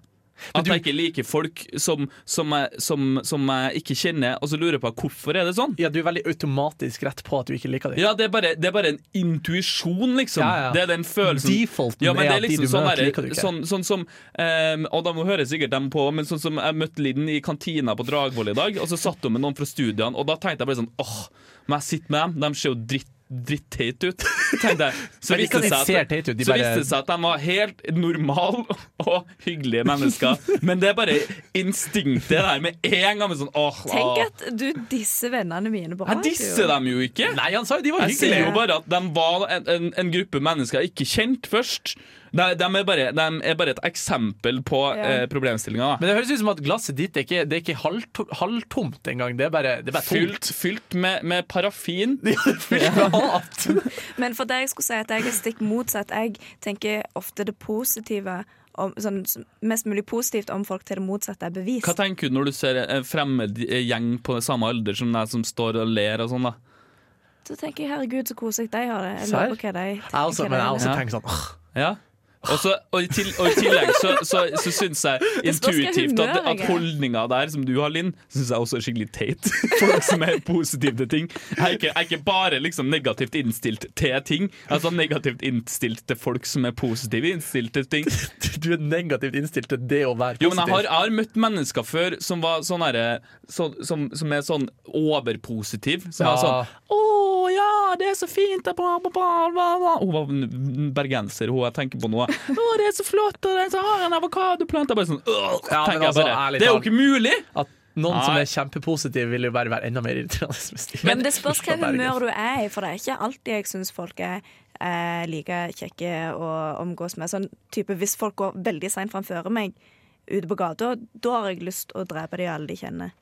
[SPEAKER 3] At jeg ikke liker folk som, som, jeg, som, som jeg ikke kjenner, og så lurer jeg på hvorfor er det sånn.
[SPEAKER 4] Ja, du er veldig automatisk rett på at du ikke liker det.
[SPEAKER 3] Ja, det er bare, det er bare en intuisjon, liksom.
[SPEAKER 4] Ja, ja.
[SPEAKER 3] Det er den følelsen.
[SPEAKER 4] Defaulten
[SPEAKER 3] ja, men
[SPEAKER 4] er
[SPEAKER 3] det
[SPEAKER 4] at
[SPEAKER 3] er
[SPEAKER 4] de
[SPEAKER 3] liksom
[SPEAKER 4] du
[SPEAKER 3] sånn
[SPEAKER 4] møter
[SPEAKER 3] der-
[SPEAKER 4] liker du ikke.
[SPEAKER 3] Sånn, sånn som ehm, Og da må hører sikkert dem på, men sånn som jeg møtte Linn i kantina på Dragvoll i dag, og så satt hun med noen fra studiene, og da tenkte jeg bare sånn åh, må jeg sitte med dem? De ser jo dritt dritteit ut. Tenkte jeg. Så
[SPEAKER 4] Men ikke
[SPEAKER 3] viste
[SPEAKER 4] at de
[SPEAKER 3] det seg
[SPEAKER 4] ser
[SPEAKER 3] at,
[SPEAKER 4] teit ut, de
[SPEAKER 3] så
[SPEAKER 4] bare-
[SPEAKER 3] viste det seg at de var helt normale og hyggelige mennesker. Men det er bare instinktet der med en gang. Med sånn, åh,
[SPEAKER 2] Tenk
[SPEAKER 3] åh.
[SPEAKER 2] at du disser vennene mine på
[SPEAKER 3] Jeg disser dem jo ikke!
[SPEAKER 4] Nei, han sa jo de var
[SPEAKER 3] Jeg sier
[SPEAKER 4] hyggelige!
[SPEAKER 3] jo bare at de var en, en, en gruppe mennesker jeg ikke kjent først. De, de, er, bare, de er bare et eksempel på
[SPEAKER 2] Ja.
[SPEAKER 3] eh, problemstillinga. da.
[SPEAKER 4] Men det høres ut som at glasset ditt er ikke, det er ikke halvto- halvtomt engang. Det er bare, det er bare tomt.
[SPEAKER 3] Fylt, fylt med, med paraffin.
[SPEAKER 2] Men for det jeg skulle si at jeg er stikk motsatt. Jeg tenker ofte det positive om, sånn, som- Mest mulig positivt om folk til det motsatte er bevis.
[SPEAKER 3] Hva tenker du når du ser en fremmed gjeng på samme alder som deg som står og ler og sånn, da?
[SPEAKER 2] Så tenker jeg herregud, så koselig de har det. Jeg
[SPEAKER 4] Serr?
[SPEAKER 2] lurer på hva de
[SPEAKER 4] Jeg også, men jeg også
[SPEAKER 3] Ja.
[SPEAKER 4] tenker sånn åh,
[SPEAKER 3] Ja. Og, så, og, i til, og i tillegg så, så, så syns jeg
[SPEAKER 2] spørs hva
[SPEAKER 3] intuitivt at,
[SPEAKER 2] humør jeg
[SPEAKER 3] at
[SPEAKER 2] er.
[SPEAKER 3] holdninga der som du har, Linn, syns jeg også er skikkelig teit. Folk som er positive til ting. Jeg er ikke, jeg er ikke bare liksom negativt innstilt til ting. Altså negativt innstilt til folk som er positive innstilt til ting.
[SPEAKER 4] Du er negativt innstilt til det å være
[SPEAKER 3] Jo, men jeg har,
[SPEAKER 4] positiv.
[SPEAKER 3] jeg har møtt mennesker før som, var sånn herre- så, som, som er sånn overpositiv. Som er
[SPEAKER 4] Ja.
[SPEAKER 3] sånn 'Å ja, det er så fint', det er bla, bla, bla, bla, bla. Hun var n- bergenser, hun jeg tenker på nå. 'Å, det er så flott, og det er så har en avokadoplante'. Jeg Bare sånn, «Åh»,
[SPEAKER 4] Ja, men
[SPEAKER 3] tenker jeg
[SPEAKER 4] altså,
[SPEAKER 3] bare,
[SPEAKER 4] ærlig
[SPEAKER 3] det er jo
[SPEAKER 4] talt.
[SPEAKER 3] ikke mulig!
[SPEAKER 4] At noen som
[SPEAKER 3] Nei.
[SPEAKER 4] er kjempepositive, vil jo bare være enda mer irriterende. hvis de-
[SPEAKER 2] Men det spørs hva
[SPEAKER 4] Forstår Bergen.
[SPEAKER 2] humør du er i, for det er ikke alltid jeg syns folk er eh, like kjekke å omgås med. Sånn type Hvis folk går veldig seint framfor meg ute på gata, da har jeg lyst å drepe de alle de kjenner.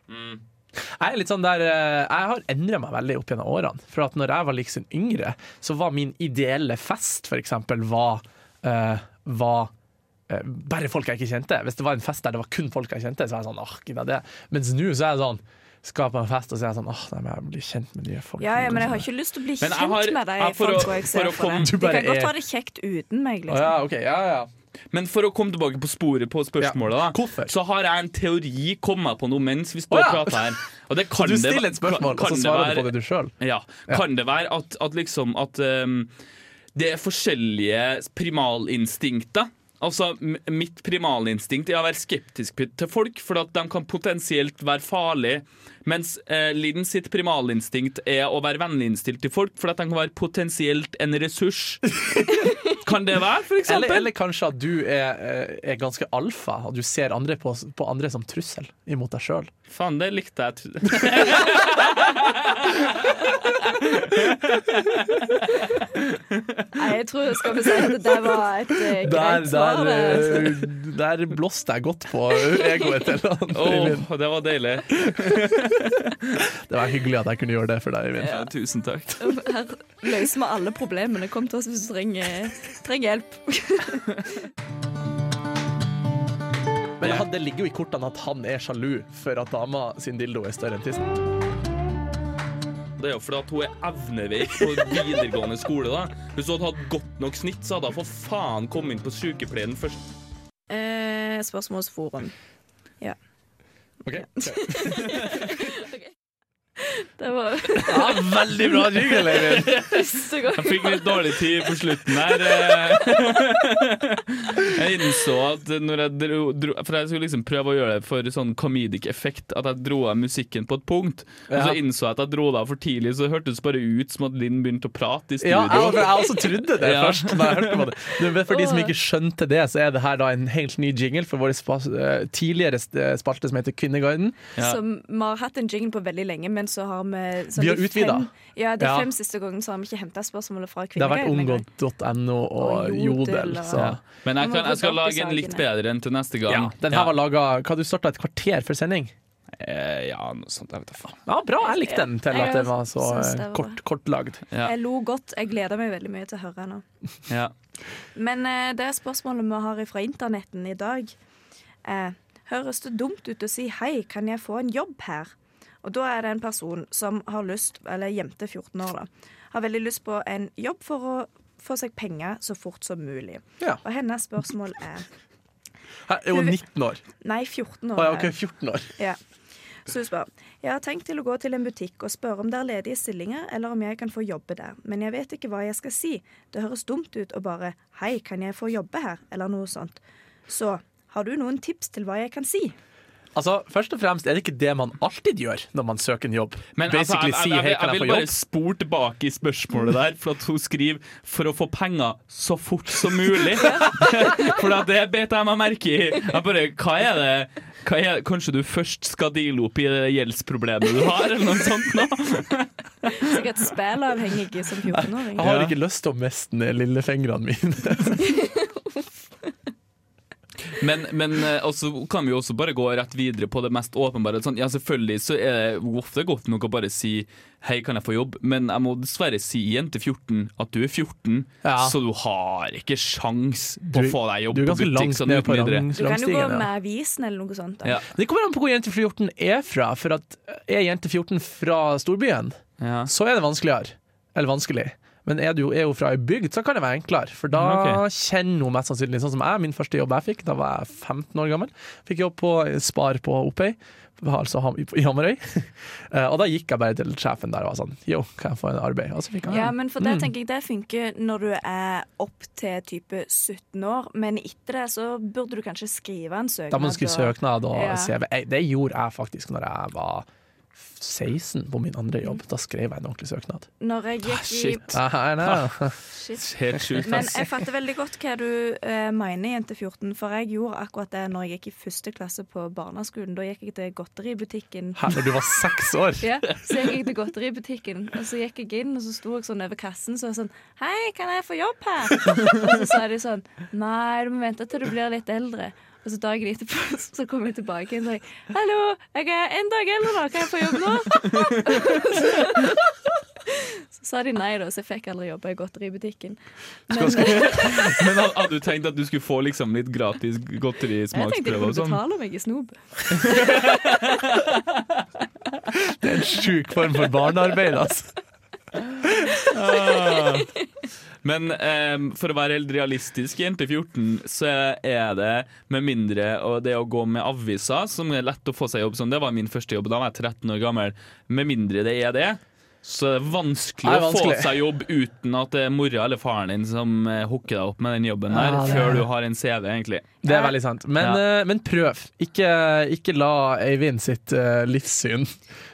[SPEAKER 4] Jeg er litt sånn der eh, Jeg har endra meg veldig opp gjennom årene. For at når jeg var liksom yngre, så var min ideelle fest for eksempel var, eh, var eh, bare folk jeg ikke kjente. Hvis det var en fest der det var kun folk jeg kjente, så er jeg sånn åh, gidder jeg det. Mens nå så er jeg sånn skal på en fest og så er jeg sånn åh, nei, men jeg blir kjent med nye folk.
[SPEAKER 2] Ja, ja, Men jeg har ikke lyst til å bli
[SPEAKER 3] Men jeg
[SPEAKER 2] kjent
[SPEAKER 3] har-
[SPEAKER 2] med de
[SPEAKER 3] jeg- for å-
[SPEAKER 2] folka jeg ser
[SPEAKER 3] for å
[SPEAKER 2] for
[SPEAKER 3] komme-
[SPEAKER 2] det.
[SPEAKER 4] Du
[SPEAKER 2] De
[SPEAKER 4] bare
[SPEAKER 2] kan godt
[SPEAKER 4] er-
[SPEAKER 2] ha det kjekt uten meg,
[SPEAKER 4] Å
[SPEAKER 2] liksom.
[SPEAKER 4] ja, ok, ja, ja.
[SPEAKER 3] Men for å komme tilbake på sporet på spørsmålet,
[SPEAKER 4] Ja.
[SPEAKER 3] da,
[SPEAKER 4] Hvorfor?
[SPEAKER 3] så har jeg en teori kommet på noe mens vi
[SPEAKER 4] Å,
[SPEAKER 3] står og
[SPEAKER 4] ja.
[SPEAKER 3] prater her. Og det kan
[SPEAKER 4] Du
[SPEAKER 3] det-
[SPEAKER 4] stiller et spørsmål,
[SPEAKER 3] kan-
[SPEAKER 4] og så
[SPEAKER 3] kan
[SPEAKER 4] svarer
[SPEAKER 3] være-
[SPEAKER 4] du på det du sjøl.
[SPEAKER 3] Ja. Kan det være at, at liksom at ehm, det er forskjellige primalinstinkter? Altså, m- Mitt primalinstinkt er å være skeptisk p- til folk, for at de kan potensielt være farlige. Mens eh, Linn sitt primalinstinkt er å være vennlig innstilt til folk, for at de kan være potensielt en ressurs. kan det være, for eksempel?
[SPEAKER 4] Eller, eller kanskje at du er, eh, er ganske alfa, og du ser andre på, på andre som trussel imot deg sjøl.
[SPEAKER 3] Faen, det likte jeg.
[SPEAKER 2] Nei, jeg tror skal vi si at det var et eh,
[SPEAKER 4] Der,
[SPEAKER 2] greit svar.
[SPEAKER 4] der,
[SPEAKER 2] det.
[SPEAKER 4] eh, der blåste jeg godt på egoet til han. Øyvind.
[SPEAKER 3] Åh, det var deilig.
[SPEAKER 4] Det var hyggelig at jeg kunne gjøre det for deg, Øyvind.
[SPEAKER 3] Ja, tusen takk.
[SPEAKER 2] Her løser vi alle problemene. Kom til oss hvis du trenger, trenger hjelp.
[SPEAKER 4] Men han, det ligger jo i kortene at han er sjalu for at dama sin dildo er større enn tissen.
[SPEAKER 3] Det er jo fordi at hun er evneveik på videregående skole. da Hvis hun hadde hatt godt nok snitt, så hadde hun for faen kommet inn på sykepleien først.
[SPEAKER 2] Eh, spørsmålsforum.
[SPEAKER 4] Okay.
[SPEAKER 2] Det var
[SPEAKER 4] Ja, veldig bra jingle, Øyvind.
[SPEAKER 2] første gang.
[SPEAKER 3] Jeg fikk litt dårlig tid på slutten her. eh. Jeg innså at når jeg dro, dro For jeg skulle liksom prøve å gjøre det for sånn comedic effekt, at jeg dro av musikken på et punkt. Og så
[SPEAKER 4] Ja.
[SPEAKER 3] innså jeg at jeg dro det av for tidlig, så det hørtes bare ut som at Linn begynte å prate i
[SPEAKER 4] Ja,
[SPEAKER 3] studio.
[SPEAKER 4] jeg, jeg også trodde det
[SPEAKER 3] Ja.
[SPEAKER 4] først. Da jeg hørte på det. Du, vet, for de som ikke skjønte det, så er det her da en helt ny jingle for vår spa eh, tidligere st- spalte som heter Kvinneguiden.
[SPEAKER 3] Ja.
[SPEAKER 2] Som vi har hatt en jingle på veldig lenge, men så har vi sånn
[SPEAKER 4] Vi har
[SPEAKER 2] de fem-
[SPEAKER 4] utvidet.
[SPEAKER 2] Ja, de
[SPEAKER 4] Ja.
[SPEAKER 2] fem siste gangene så har vi ikke henta spørsmålet fra
[SPEAKER 4] Det har vært
[SPEAKER 2] Kvinneguiden engang.
[SPEAKER 4] omgått.no og
[SPEAKER 2] Og Jodel,
[SPEAKER 4] Jodel.
[SPEAKER 2] og-
[SPEAKER 4] Så.
[SPEAKER 3] Men jeg, kan, jeg
[SPEAKER 2] Man må rydde opp i
[SPEAKER 3] skal lage en litt
[SPEAKER 2] sakene.
[SPEAKER 3] bedre en til neste
[SPEAKER 4] Ja,
[SPEAKER 3] gang.
[SPEAKER 4] den her var laga Hva du starta et kvarter før sending?
[SPEAKER 3] Eh, ja, noe sånt. Jeg vet da faen.
[SPEAKER 4] Ja, bra. Jeg likte den til
[SPEAKER 2] Jeg
[SPEAKER 4] at den var så
[SPEAKER 2] synes det
[SPEAKER 4] eh,
[SPEAKER 2] var
[SPEAKER 4] kort, kortlagd.
[SPEAKER 3] Ja.
[SPEAKER 2] Jeg lo godt. Jeg gleder meg veldig mye til å høre nå.
[SPEAKER 3] Ja.
[SPEAKER 2] Men eh, det spørsmålet vi har fra internetten i dag eh, Høres det dumt ut å si 'hei, kan jeg få en jobb her'? Og da er det en person som har lyst, eller jente 14 år, da, har veldig lyst på en jobb for å få seg penger så fort som mulig.
[SPEAKER 4] Ja.
[SPEAKER 2] Og hennes spørsmål er
[SPEAKER 4] Her er jo 19 år.
[SPEAKER 2] Nei, 14 år.
[SPEAKER 4] Å ja,
[SPEAKER 2] er-
[SPEAKER 4] ok, 14 år.
[SPEAKER 2] Ja. Så hun spør Jeg har tenkt til å gå til en butikk og spørre om det er ledige stillinger, eller om jeg kan få jobbe der, men jeg vet ikke hva jeg skal si. Det høres dumt ut å bare 'Hei, kan jeg få jobbe her?' eller noe sånt. Så har du noen tips til hva jeg kan si?
[SPEAKER 4] Altså, Først og fremst er det ikke det man alltid gjør når man søker en jobb.
[SPEAKER 3] Men altså, jeg,
[SPEAKER 4] Basically
[SPEAKER 3] jeg,
[SPEAKER 4] si
[SPEAKER 3] jeg,
[SPEAKER 4] hei,
[SPEAKER 3] jeg,
[SPEAKER 4] kan jeg
[SPEAKER 3] vil
[SPEAKER 4] få
[SPEAKER 3] bare
[SPEAKER 4] jobb?
[SPEAKER 3] spole tilbake i spørsmålet der, for at hun skriver 'for å få penger så fort som mulig'. For at det bet jeg meg merke i. Jeg bare, hva er det hva er, Kanskje du først skal deale opp i det gjeldsproblemet du har, eller noe sånt? nå?
[SPEAKER 2] Sikkert spillavhengig som 14-åring.
[SPEAKER 4] Jeg har ikke lyst til å miste ned lillefingrene mine.
[SPEAKER 3] Men, men eh, altså, kan vi jo også bare gå rett videre på det mest åpenbare. Sånn, ja, selvfølgelig så er det ofte godt nok å bare si 'hei, kan jeg få jobb', men jeg må dessverre si igjen til 14 at du er 14,
[SPEAKER 4] Ja.
[SPEAKER 3] så du har ikke sjans
[SPEAKER 4] Du-
[SPEAKER 3] på å få deg jobb
[SPEAKER 4] du er
[SPEAKER 3] på
[SPEAKER 4] ganske
[SPEAKER 3] butikk
[SPEAKER 4] langt
[SPEAKER 3] sånn
[SPEAKER 4] ned på
[SPEAKER 3] uten videre.
[SPEAKER 4] rangs-
[SPEAKER 2] Du kan jo gå
[SPEAKER 4] rangstigen.
[SPEAKER 2] med
[SPEAKER 4] Ja.
[SPEAKER 2] avisen eller noe sånt. Da.
[SPEAKER 3] Ja.
[SPEAKER 4] Det kommer an på hvor jente 14 er fra. For at eh, er jente 14 fra storbyen,
[SPEAKER 3] Ja.
[SPEAKER 4] så er det vanskeligere. Eller vanskelig. Men er du er hun fra ei bygd, så kan det være enklere. For da
[SPEAKER 3] Ok.
[SPEAKER 4] kjenner hun mest sannsynlig sånn som jeg. Min første jobb jeg fikk, da var jeg 15 år gammel. Fikk jobb på Spar på Oppøy, altså Ham- i Hamarøy. Eh, og da gikk jeg bare til sjefen der og var sånn Yo, kan jeg få en arbeid? Og så fikk jeg
[SPEAKER 2] Ja, men for
[SPEAKER 4] Mm.
[SPEAKER 2] det tenker jeg det funker når du er opp til type 17 år, men etter det så burde du kanskje skrive en søknad.
[SPEAKER 4] Da må man skrive
[SPEAKER 2] og-
[SPEAKER 4] søknad og
[SPEAKER 2] altså, Ja.
[SPEAKER 4] CV. Jeg- Det gjorde jeg faktisk når jeg var 16 på min andre jobb. Da skrev jeg en ordentlig søknad.
[SPEAKER 2] Når jeg
[SPEAKER 4] Ah,
[SPEAKER 2] gikk i
[SPEAKER 3] Shit.
[SPEAKER 4] I know.
[SPEAKER 2] Shit.
[SPEAKER 3] Helt sjukt, altså.
[SPEAKER 2] Men
[SPEAKER 3] ass.
[SPEAKER 2] jeg fatter veldig godt hva du eh, mener, jente 14, for jeg gjorde akkurat det når jeg gikk i første klasse på barneskolen. Da gikk jeg til godteributikken.
[SPEAKER 4] Her, når du var seks år.
[SPEAKER 2] Ja, så gikk jeg til godteributikken, og så gikk jeg inn, og så sto jeg sånn over kassen så var jeg sånn Hei, kan jeg få jobb her? Og så sa de sånn Nei, du må vente til du blir litt eldre. Og så dagen etterpå så kom jeg tilbake igjen og sa Hallo, jeg er en dag eldre nå, kan jeg få jobb nå? Så sa de nei, da, så jeg fikk aldri jobbe i godteributikken. Men jeg
[SPEAKER 3] Men had- hadde du tenkt at du skulle få liksom litt gratis
[SPEAKER 2] tenkte de
[SPEAKER 3] godterismaksprøve
[SPEAKER 2] kunne
[SPEAKER 3] og sånn?
[SPEAKER 2] betale meg i snob.
[SPEAKER 4] Sjuk form for barnearbeid, altså.
[SPEAKER 3] Ah. Men ehm, for å være helt realistisk, jente 14, så er det med mindre og det å gå med aviser, som er lett å få seg jobb som, det var min første jobb, da var jeg 13 år gammel, med mindre det er det, så er det vanskelig,
[SPEAKER 4] Det er
[SPEAKER 3] å få
[SPEAKER 4] vanskelig.
[SPEAKER 3] seg jobb uten at det er mora eller faren din som eh, hooker deg opp med den jobben der,
[SPEAKER 4] Ja, det er
[SPEAKER 3] før
[SPEAKER 4] det.
[SPEAKER 3] du har en CV, egentlig.
[SPEAKER 4] Det er veldig sant. Men,
[SPEAKER 3] Ja.
[SPEAKER 4] eh, men prøv. Ikke, ikke la Eivind sitt eh, livssyn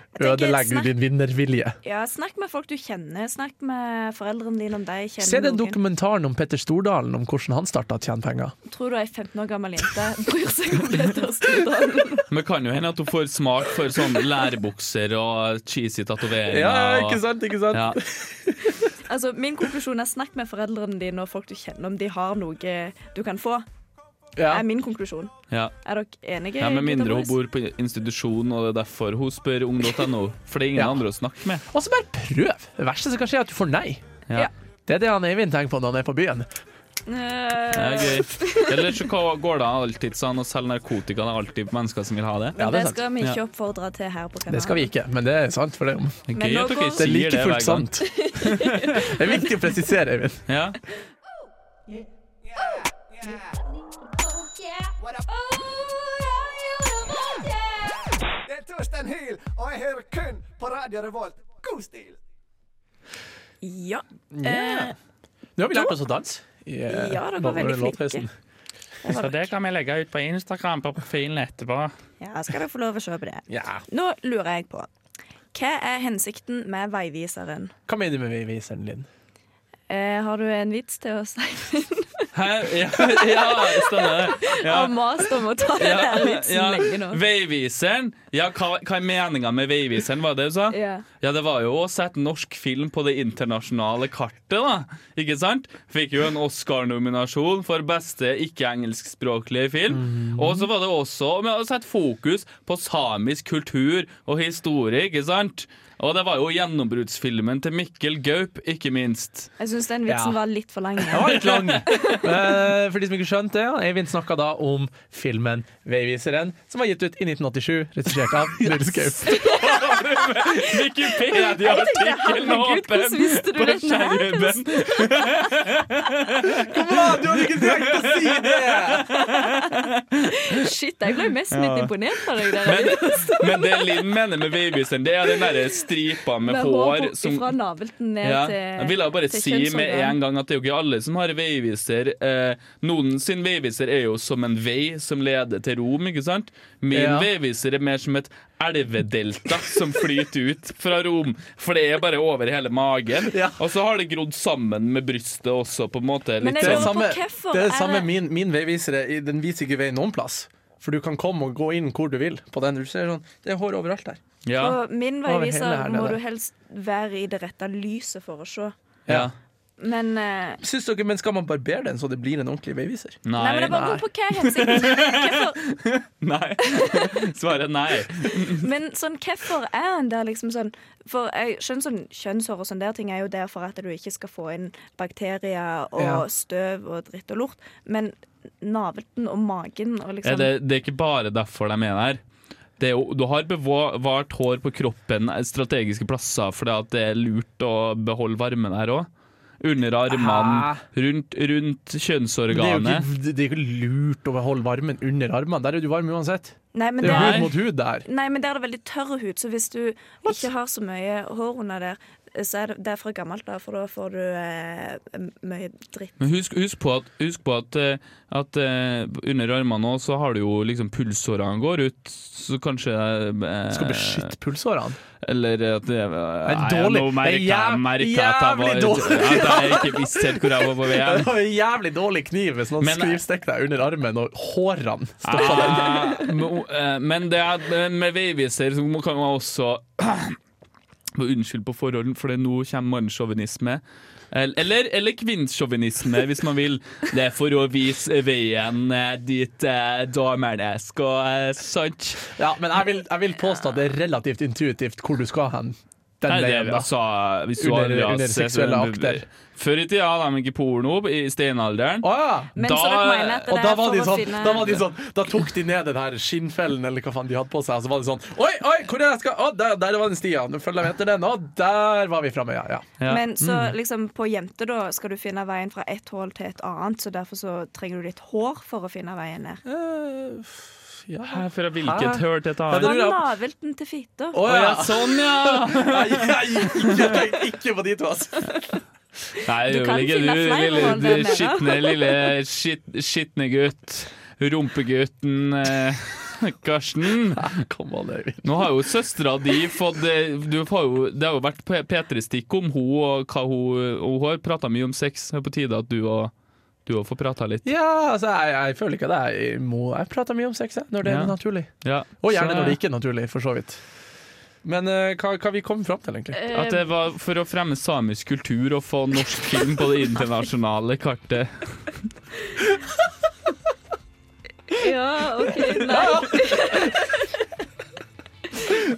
[SPEAKER 2] tenker
[SPEAKER 4] ødelegge
[SPEAKER 2] snakk-
[SPEAKER 4] din vinnervilje.
[SPEAKER 2] Ja, Snakk med folk du kjenner. Snakk med foreldrene dine om de kjenner
[SPEAKER 4] Se den
[SPEAKER 2] noen.
[SPEAKER 4] dokumentaren om Petter Stordalen om hvordan han starta å tjene penger.
[SPEAKER 2] Tror du ei 15 år gammel jente bryr seg om Peter Stordalen?
[SPEAKER 3] Men det kan jo hende at hun får smak for sånn lærebukser og cheesy tatoveringer. og-
[SPEAKER 4] sant, ikke sant?
[SPEAKER 3] Ja.
[SPEAKER 2] Altså, min konklusjon er snakk med foreldrene dine og folk du kjenner om de har noe du kan få.
[SPEAKER 4] Ja.
[SPEAKER 2] er min konklusjon.
[SPEAKER 3] Ja.
[SPEAKER 2] Er dere enige?
[SPEAKER 3] Ja, Med mindre hun
[SPEAKER 2] gutta boys?
[SPEAKER 3] bor på institusjon, og det er derfor hun spør ung.no. For det er ingen
[SPEAKER 4] Ja.
[SPEAKER 3] andre å snakke med.
[SPEAKER 4] Og så bare prøv. Det verste som kan skje, er at du får nei.
[SPEAKER 3] Ja.
[SPEAKER 2] Ja.
[SPEAKER 4] Det er det han Eivind tenker på når han er på byen.
[SPEAKER 3] Det er
[SPEAKER 2] Eh,
[SPEAKER 3] gøy. Eller så går det alltid sånn å selge narkotika. Det er alltid mennesker som vil ha det.
[SPEAKER 4] Ja,
[SPEAKER 2] men
[SPEAKER 4] det
[SPEAKER 2] det
[SPEAKER 4] er sant.
[SPEAKER 2] skal vi ikke
[SPEAKER 3] Ja.
[SPEAKER 2] oppfordre til her på kanalen.
[SPEAKER 4] Det skal vi ikke, men det er sant for det.
[SPEAKER 3] Det er
[SPEAKER 2] Men
[SPEAKER 3] gøy
[SPEAKER 2] nå
[SPEAKER 3] at dere
[SPEAKER 4] Det er
[SPEAKER 2] går-
[SPEAKER 3] sier det,
[SPEAKER 4] like fullt
[SPEAKER 3] hver gang.
[SPEAKER 4] sant. Det er viktig å presisere, Eivind.
[SPEAKER 3] Ja.
[SPEAKER 6] Det er Torstein Hyl, og jeg hører kun på Radio Revolt. God stil!
[SPEAKER 2] Ja. Eh,
[SPEAKER 4] Nå har vi lært oss å danse.
[SPEAKER 2] ja, dere var veldig flinke. Det var dere.
[SPEAKER 3] kan vi legge ut på Instagram på profilen etterpå.
[SPEAKER 2] Ja, skal dere få lov å se på det.
[SPEAKER 4] Ja.
[SPEAKER 2] Nå lurer jeg på Hva er hensikten med veiviseren?
[SPEAKER 4] Hva mener du med veiviseren, Linn?
[SPEAKER 2] Eh, har du en vits til oss?
[SPEAKER 3] Hæ? Ja, ja stemmer det.
[SPEAKER 2] Jeg har mast om å ta den her vitsen lenge nå.
[SPEAKER 3] Veiviseren. Ja, hva, hva er meninga med veiviseren, var det du sa?
[SPEAKER 2] Ja.
[SPEAKER 3] Ja, det var jo å sette norsk film på det internasjonale kartet, da. Ikke sant? Fikk jo en Oscar-nominasjon for beste ikke-engelskspråklige film. Og så var det også med å sette fokus på samisk kultur og historie, ikke sant? Og det var jo gjennombruddsfilmen til Mikkel Gaup, ikke minst.
[SPEAKER 2] Jeg syns den vitsen
[SPEAKER 4] Ja.
[SPEAKER 2] var litt for lang.
[SPEAKER 4] Den var litt lang. Eh, For de som ikke skjønte det, han Eivind snakka da om filmen 'Veiviseren', som var gitt ut i 1987, regissert av Nils Gaup.
[SPEAKER 3] Wikipedia-artikkelen
[SPEAKER 2] Herregud, hvordan visste du dette her?
[SPEAKER 3] skjermen.
[SPEAKER 4] Du hadde ikke trengt å si det!
[SPEAKER 2] Shit, Jeg ble mest litt imponert av deg. der
[SPEAKER 3] Men, men det Liv mener med babysen, det er den derre stripa med, hår som
[SPEAKER 2] Fra navelten ned
[SPEAKER 3] ja.
[SPEAKER 2] til
[SPEAKER 3] Jeg ville jo bare
[SPEAKER 2] til
[SPEAKER 3] si med
[SPEAKER 2] kjønnsorgan.
[SPEAKER 3] en gang at det er jo ikke alle som har veiviser. Eh, noen sin veiviser er jo som en vei som leder til Rom, ikke sant? Min
[SPEAKER 4] Ja.
[SPEAKER 3] veiviser er mer som et elvedelta som flyter ut fra Rom. For det er bare over hele magen.
[SPEAKER 4] Ja.
[SPEAKER 3] Og så har det grodd sammen med brystet også, på en måte.
[SPEAKER 2] Men
[SPEAKER 3] Litt
[SPEAKER 2] jeg
[SPEAKER 4] Det er
[SPEAKER 2] lurer på
[SPEAKER 3] sånn.
[SPEAKER 4] samme,
[SPEAKER 2] hvorfor
[SPEAKER 4] det er
[SPEAKER 2] er
[SPEAKER 4] det samme
[SPEAKER 2] det-
[SPEAKER 4] min, min veivisere. i- Den viser ikke vei noen plass. For du kan komme og gå inn hvor du vil på den. Du ser sånn, det er hår overalt der.
[SPEAKER 3] Ja,
[SPEAKER 2] Og min
[SPEAKER 4] Over hele
[SPEAKER 2] veiviser
[SPEAKER 4] her
[SPEAKER 2] må
[SPEAKER 4] nede.
[SPEAKER 2] du helst være i det rette lyset for å se.
[SPEAKER 3] ja.
[SPEAKER 2] Men eh,
[SPEAKER 4] Syns dere, men Skal man barbere den så det blir en ordentlig veiviser?
[SPEAKER 3] Nei.
[SPEAKER 2] Nei, men det bare
[SPEAKER 4] nei.
[SPEAKER 2] går på hva hensikt. Hvorfor,
[SPEAKER 3] nei. Svaret er nei.
[SPEAKER 2] men sånn, hvorfor er han der liksom sånn For jeg skjønner sånn kjønnshår og sånne der ting er jo der for at du ikke skal få inn bakterier og
[SPEAKER 4] Ja.
[SPEAKER 2] støv og dritt og lort. Men navelten og magen og
[SPEAKER 3] Ja,
[SPEAKER 2] liksom
[SPEAKER 3] det, det er ikke bare derfor de er der. Det er jo, du har bevart hår på kroppen eh, strategiske plasser fordi at det er lurt å beholde varmen her òg. Under armene,
[SPEAKER 4] Hæ?
[SPEAKER 3] rundt, rundt
[SPEAKER 4] Det er, jo
[SPEAKER 3] kjønnsorganet.
[SPEAKER 4] ikke, det er jo ikke lurt å beholde varmen under armene. Der er du varm uansett.
[SPEAKER 2] Nei, men
[SPEAKER 4] Det er jo
[SPEAKER 2] der-
[SPEAKER 4] hud mot hud der.
[SPEAKER 2] Nei, men der er det veldig tørr hud, så hvis du ikke har så mye hår under der, så er det, det er fra gammelt, da, for da får du eh, mye dritt.
[SPEAKER 3] Men husk, husk på at, husk på at, eh, at eh, under armene òg så har du jo liksom pulsårene går ut, så kanskje eh,
[SPEAKER 4] Skal beskytte pulsårene.
[SPEAKER 3] Eller at det er Nei,
[SPEAKER 4] dårlig-
[SPEAKER 3] nå merker
[SPEAKER 4] det er
[SPEAKER 3] jeg-
[SPEAKER 4] jæv-
[SPEAKER 3] merker jeg at jeg
[SPEAKER 4] jævlig
[SPEAKER 3] var-
[SPEAKER 4] dårlig.
[SPEAKER 3] At jeg ikke visste helt hvor jeg var på vei.
[SPEAKER 4] Det var en jævlig dårlig kniv hvis noen
[SPEAKER 3] Men-
[SPEAKER 4] skrivstikker deg under armen og hårene stopper den.
[SPEAKER 3] Ah, men, eh, Men det er med veiviser så må- kan man også Må Unnskyld på forhånd, for det nå kommer mannssjåvinisme. El- Eller, eller kvinnsjåvinisme, hvis man vil. Det er for å vise veien eh, dit eh, damene skal, eh, sant?
[SPEAKER 4] Ja, men jeg vil, jeg vil påstå at det er relativt intuitivt hvor du skal hen. Den
[SPEAKER 3] Nei, det er
[SPEAKER 4] veien, da.
[SPEAKER 3] altså hvis du
[SPEAKER 4] Under-
[SPEAKER 3] aldri har
[SPEAKER 4] under
[SPEAKER 3] sett-
[SPEAKER 4] seksuelle akter.
[SPEAKER 3] Før i tida hadde de ikke porno i steinalderen.
[SPEAKER 4] Å ja.
[SPEAKER 2] Men
[SPEAKER 3] Da-
[SPEAKER 2] så dere mener at det
[SPEAKER 4] Og da
[SPEAKER 2] er
[SPEAKER 4] var,
[SPEAKER 2] for
[SPEAKER 4] de
[SPEAKER 2] å
[SPEAKER 4] sånn,
[SPEAKER 2] finne
[SPEAKER 4] da var de sånn Da tok de ned den her skinnfellen eller hva faen de hadde på seg, og så var de sånn Oi, oi, hvor er jeg skal Å, der, der var den stia. Nå følger jeg etter den. Å, der var vi framme, ja. ja.
[SPEAKER 3] Ja.
[SPEAKER 2] Men så liksom på jente, da, skal du finne veien fra ett hull til et annet, så derfor så trenger du litt hår for å finne veien ned.
[SPEAKER 4] Eh, f- ja.
[SPEAKER 3] Her Fra hvilket
[SPEAKER 4] Hæ?
[SPEAKER 3] hørt et
[SPEAKER 4] Ja,
[SPEAKER 3] annet?
[SPEAKER 4] det-
[SPEAKER 2] Fra
[SPEAKER 4] lurer jeg på.
[SPEAKER 2] navelten til fitta.
[SPEAKER 4] Å
[SPEAKER 3] Å ja, sånn, ja!
[SPEAKER 4] Nei, jeg gikk jeg tenkte ikke på de to, altså.
[SPEAKER 2] Du
[SPEAKER 3] Nei, det er
[SPEAKER 2] kan
[SPEAKER 3] vel ikke
[SPEAKER 2] finne
[SPEAKER 3] du,
[SPEAKER 2] flere
[SPEAKER 3] lille,
[SPEAKER 2] roller
[SPEAKER 3] du
[SPEAKER 2] med, da.
[SPEAKER 3] skitne lille skit- skitne gutt. Rumpegutten eh, Karsten.
[SPEAKER 4] Kom an, Øyvind.
[SPEAKER 3] Nå har jo søstera di fått eh, du har jo, Det har jo vært P- P3-stikk om hun og hva hun og Hun har prata mye om sex. Det er på tide at du og du òg får prata litt.
[SPEAKER 4] Ja, altså, jeg, jeg føler ikke at jeg må Jeg prater mye om sex, jeg, når det
[SPEAKER 3] Ja.
[SPEAKER 4] er naturlig.
[SPEAKER 3] Ja.
[SPEAKER 4] Og gjerne
[SPEAKER 3] Så-
[SPEAKER 4] når det ikke er naturlig, for så vidt. Men eh, hva, hva vi kom fram til, egentlig?
[SPEAKER 2] Eh,
[SPEAKER 3] At det var for å fremme samisk kultur og få norsk film på det internasjonale kartet.
[SPEAKER 2] Ja, OK, nei.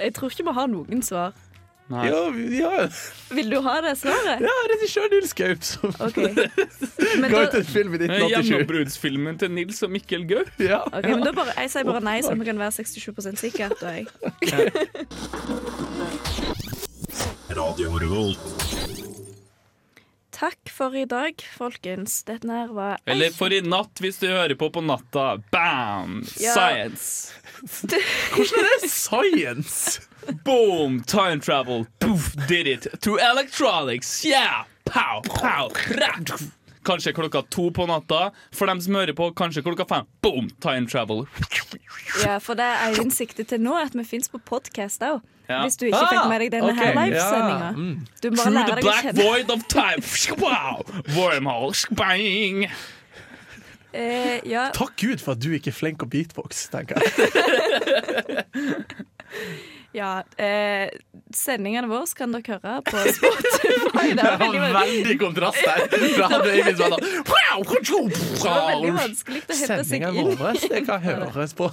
[SPEAKER 2] Jeg tror ikke vi har noen svar.
[SPEAKER 3] Nei.
[SPEAKER 4] Ja, ja,
[SPEAKER 2] Vil du ha det svaret?
[SPEAKER 4] ja regissør Nils Gaup som
[SPEAKER 2] OK. Men
[SPEAKER 4] ga
[SPEAKER 2] da,
[SPEAKER 4] ut en film i 1987.
[SPEAKER 3] Gjennombruddsfilmen til Nils og Mikkel Gaup.
[SPEAKER 4] Ja.
[SPEAKER 2] ok, men da bare, jeg sier bare nei, så vi kan være 67 sikker. Da jeg.
[SPEAKER 5] Radio Revolt.
[SPEAKER 2] Takk for i dag, folkens. Dette her var
[SPEAKER 3] Eller for i natt, hvis du hører på på natta. Bam!
[SPEAKER 2] Ja.
[SPEAKER 3] Science!
[SPEAKER 4] Hvordan er det science?
[SPEAKER 3] Boom! Time travel! Poof! Did it! Through electronics! Yeah! Pow! Pow! Ra! Kanskje klokka to på natta. For dem som hører på, kanskje klokka fem. Boom! Time travel.
[SPEAKER 2] Ja, for det er Eivind sikte til nå, at vi fins på podkast òg.
[SPEAKER 3] Ja.
[SPEAKER 2] Hvis du ikke fikk med deg denne
[SPEAKER 4] Ah, ok.
[SPEAKER 2] her
[SPEAKER 4] Ja, Mm.
[SPEAKER 2] livesendinga. Du må bare
[SPEAKER 3] Through the
[SPEAKER 2] lære deg å
[SPEAKER 3] black
[SPEAKER 2] kjenne.
[SPEAKER 3] void of time. Wow! Wormhole. Bang!
[SPEAKER 2] Eh, ja,
[SPEAKER 4] Takk Gud for at du ikke er flink å beatbox, tenker jeg.
[SPEAKER 2] ja. Eh, sendingene våre kan dere høre på Spotify. Det
[SPEAKER 4] Det
[SPEAKER 2] var
[SPEAKER 4] var
[SPEAKER 2] veldig, veldig,
[SPEAKER 4] veldig kontrast der. Fra han Øyvind som var sånn, «Wow, kutsjo,
[SPEAKER 2] det var veldig
[SPEAKER 4] wow».
[SPEAKER 2] vanskelig å hente seg
[SPEAKER 4] Sendingen
[SPEAKER 2] inn
[SPEAKER 4] vår det kan høres på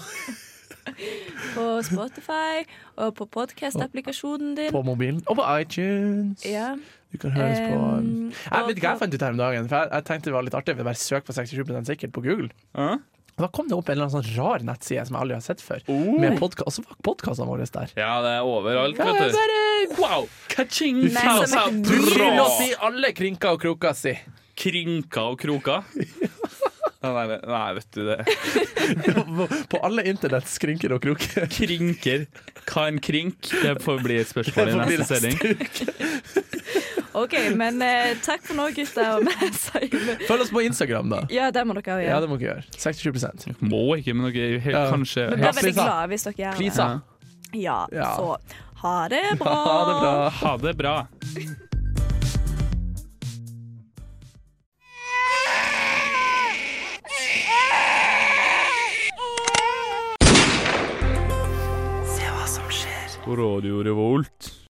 [SPEAKER 2] på Spotify og på podkast-applikasjonen din.
[SPEAKER 4] på mobilen og på iTunes.
[SPEAKER 2] Ja.
[SPEAKER 4] Du kan høres på um,
[SPEAKER 2] Ehm,
[SPEAKER 4] Jeg
[SPEAKER 2] og
[SPEAKER 4] vet ikke hva jeg
[SPEAKER 2] på-
[SPEAKER 4] fant ut her om dagen, for jeg, jeg tenkte det var litt artig å bare søke på 67 sikkert på Google.
[SPEAKER 3] Ja.
[SPEAKER 4] Og da kom det opp en eller annen sånn rar nettside som jeg aldri har sett før, med podka og så var podkastene våre der.
[SPEAKER 3] Ja, det er overalt,
[SPEAKER 4] Ja,
[SPEAKER 3] vet du.
[SPEAKER 4] bare
[SPEAKER 3] Wow! Ka-ching!
[SPEAKER 2] Nei,
[SPEAKER 3] Pow,
[SPEAKER 2] som
[SPEAKER 3] pow,
[SPEAKER 2] et
[SPEAKER 4] Du
[SPEAKER 3] bra.
[SPEAKER 4] gir oss i alle krinker og kroker, si.
[SPEAKER 3] Krinker og kroker. Nei, nei, nei, vet du det.
[SPEAKER 4] På alle internett skrinker og kroker.
[SPEAKER 3] Krinker. Hva en krink? Det får bli et spørsmål i
[SPEAKER 4] får bli
[SPEAKER 3] neste sending.
[SPEAKER 2] OK, men eh, takk for nå, gutter. Og vi sier
[SPEAKER 4] Følg oss på Instagram, da.
[SPEAKER 2] Ja, det må dere også
[SPEAKER 4] Ja,
[SPEAKER 2] gjøre.
[SPEAKER 4] det må dere gjøre. 67
[SPEAKER 3] Må ikke, men dere er jo helt,
[SPEAKER 4] Ja.
[SPEAKER 3] kanskje
[SPEAKER 2] Vi
[SPEAKER 4] Ja,
[SPEAKER 2] blir veldig
[SPEAKER 4] please, da.
[SPEAKER 2] glade hvis dere gjør det.
[SPEAKER 4] Please, da.
[SPEAKER 2] Ja,
[SPEAKER 4] Ja.
[SPEAKER 2] så ha det bra.
[SPEAKER 4] Ha det bra.
[SPEAKER 3] Ha det bra. Radio Revolt.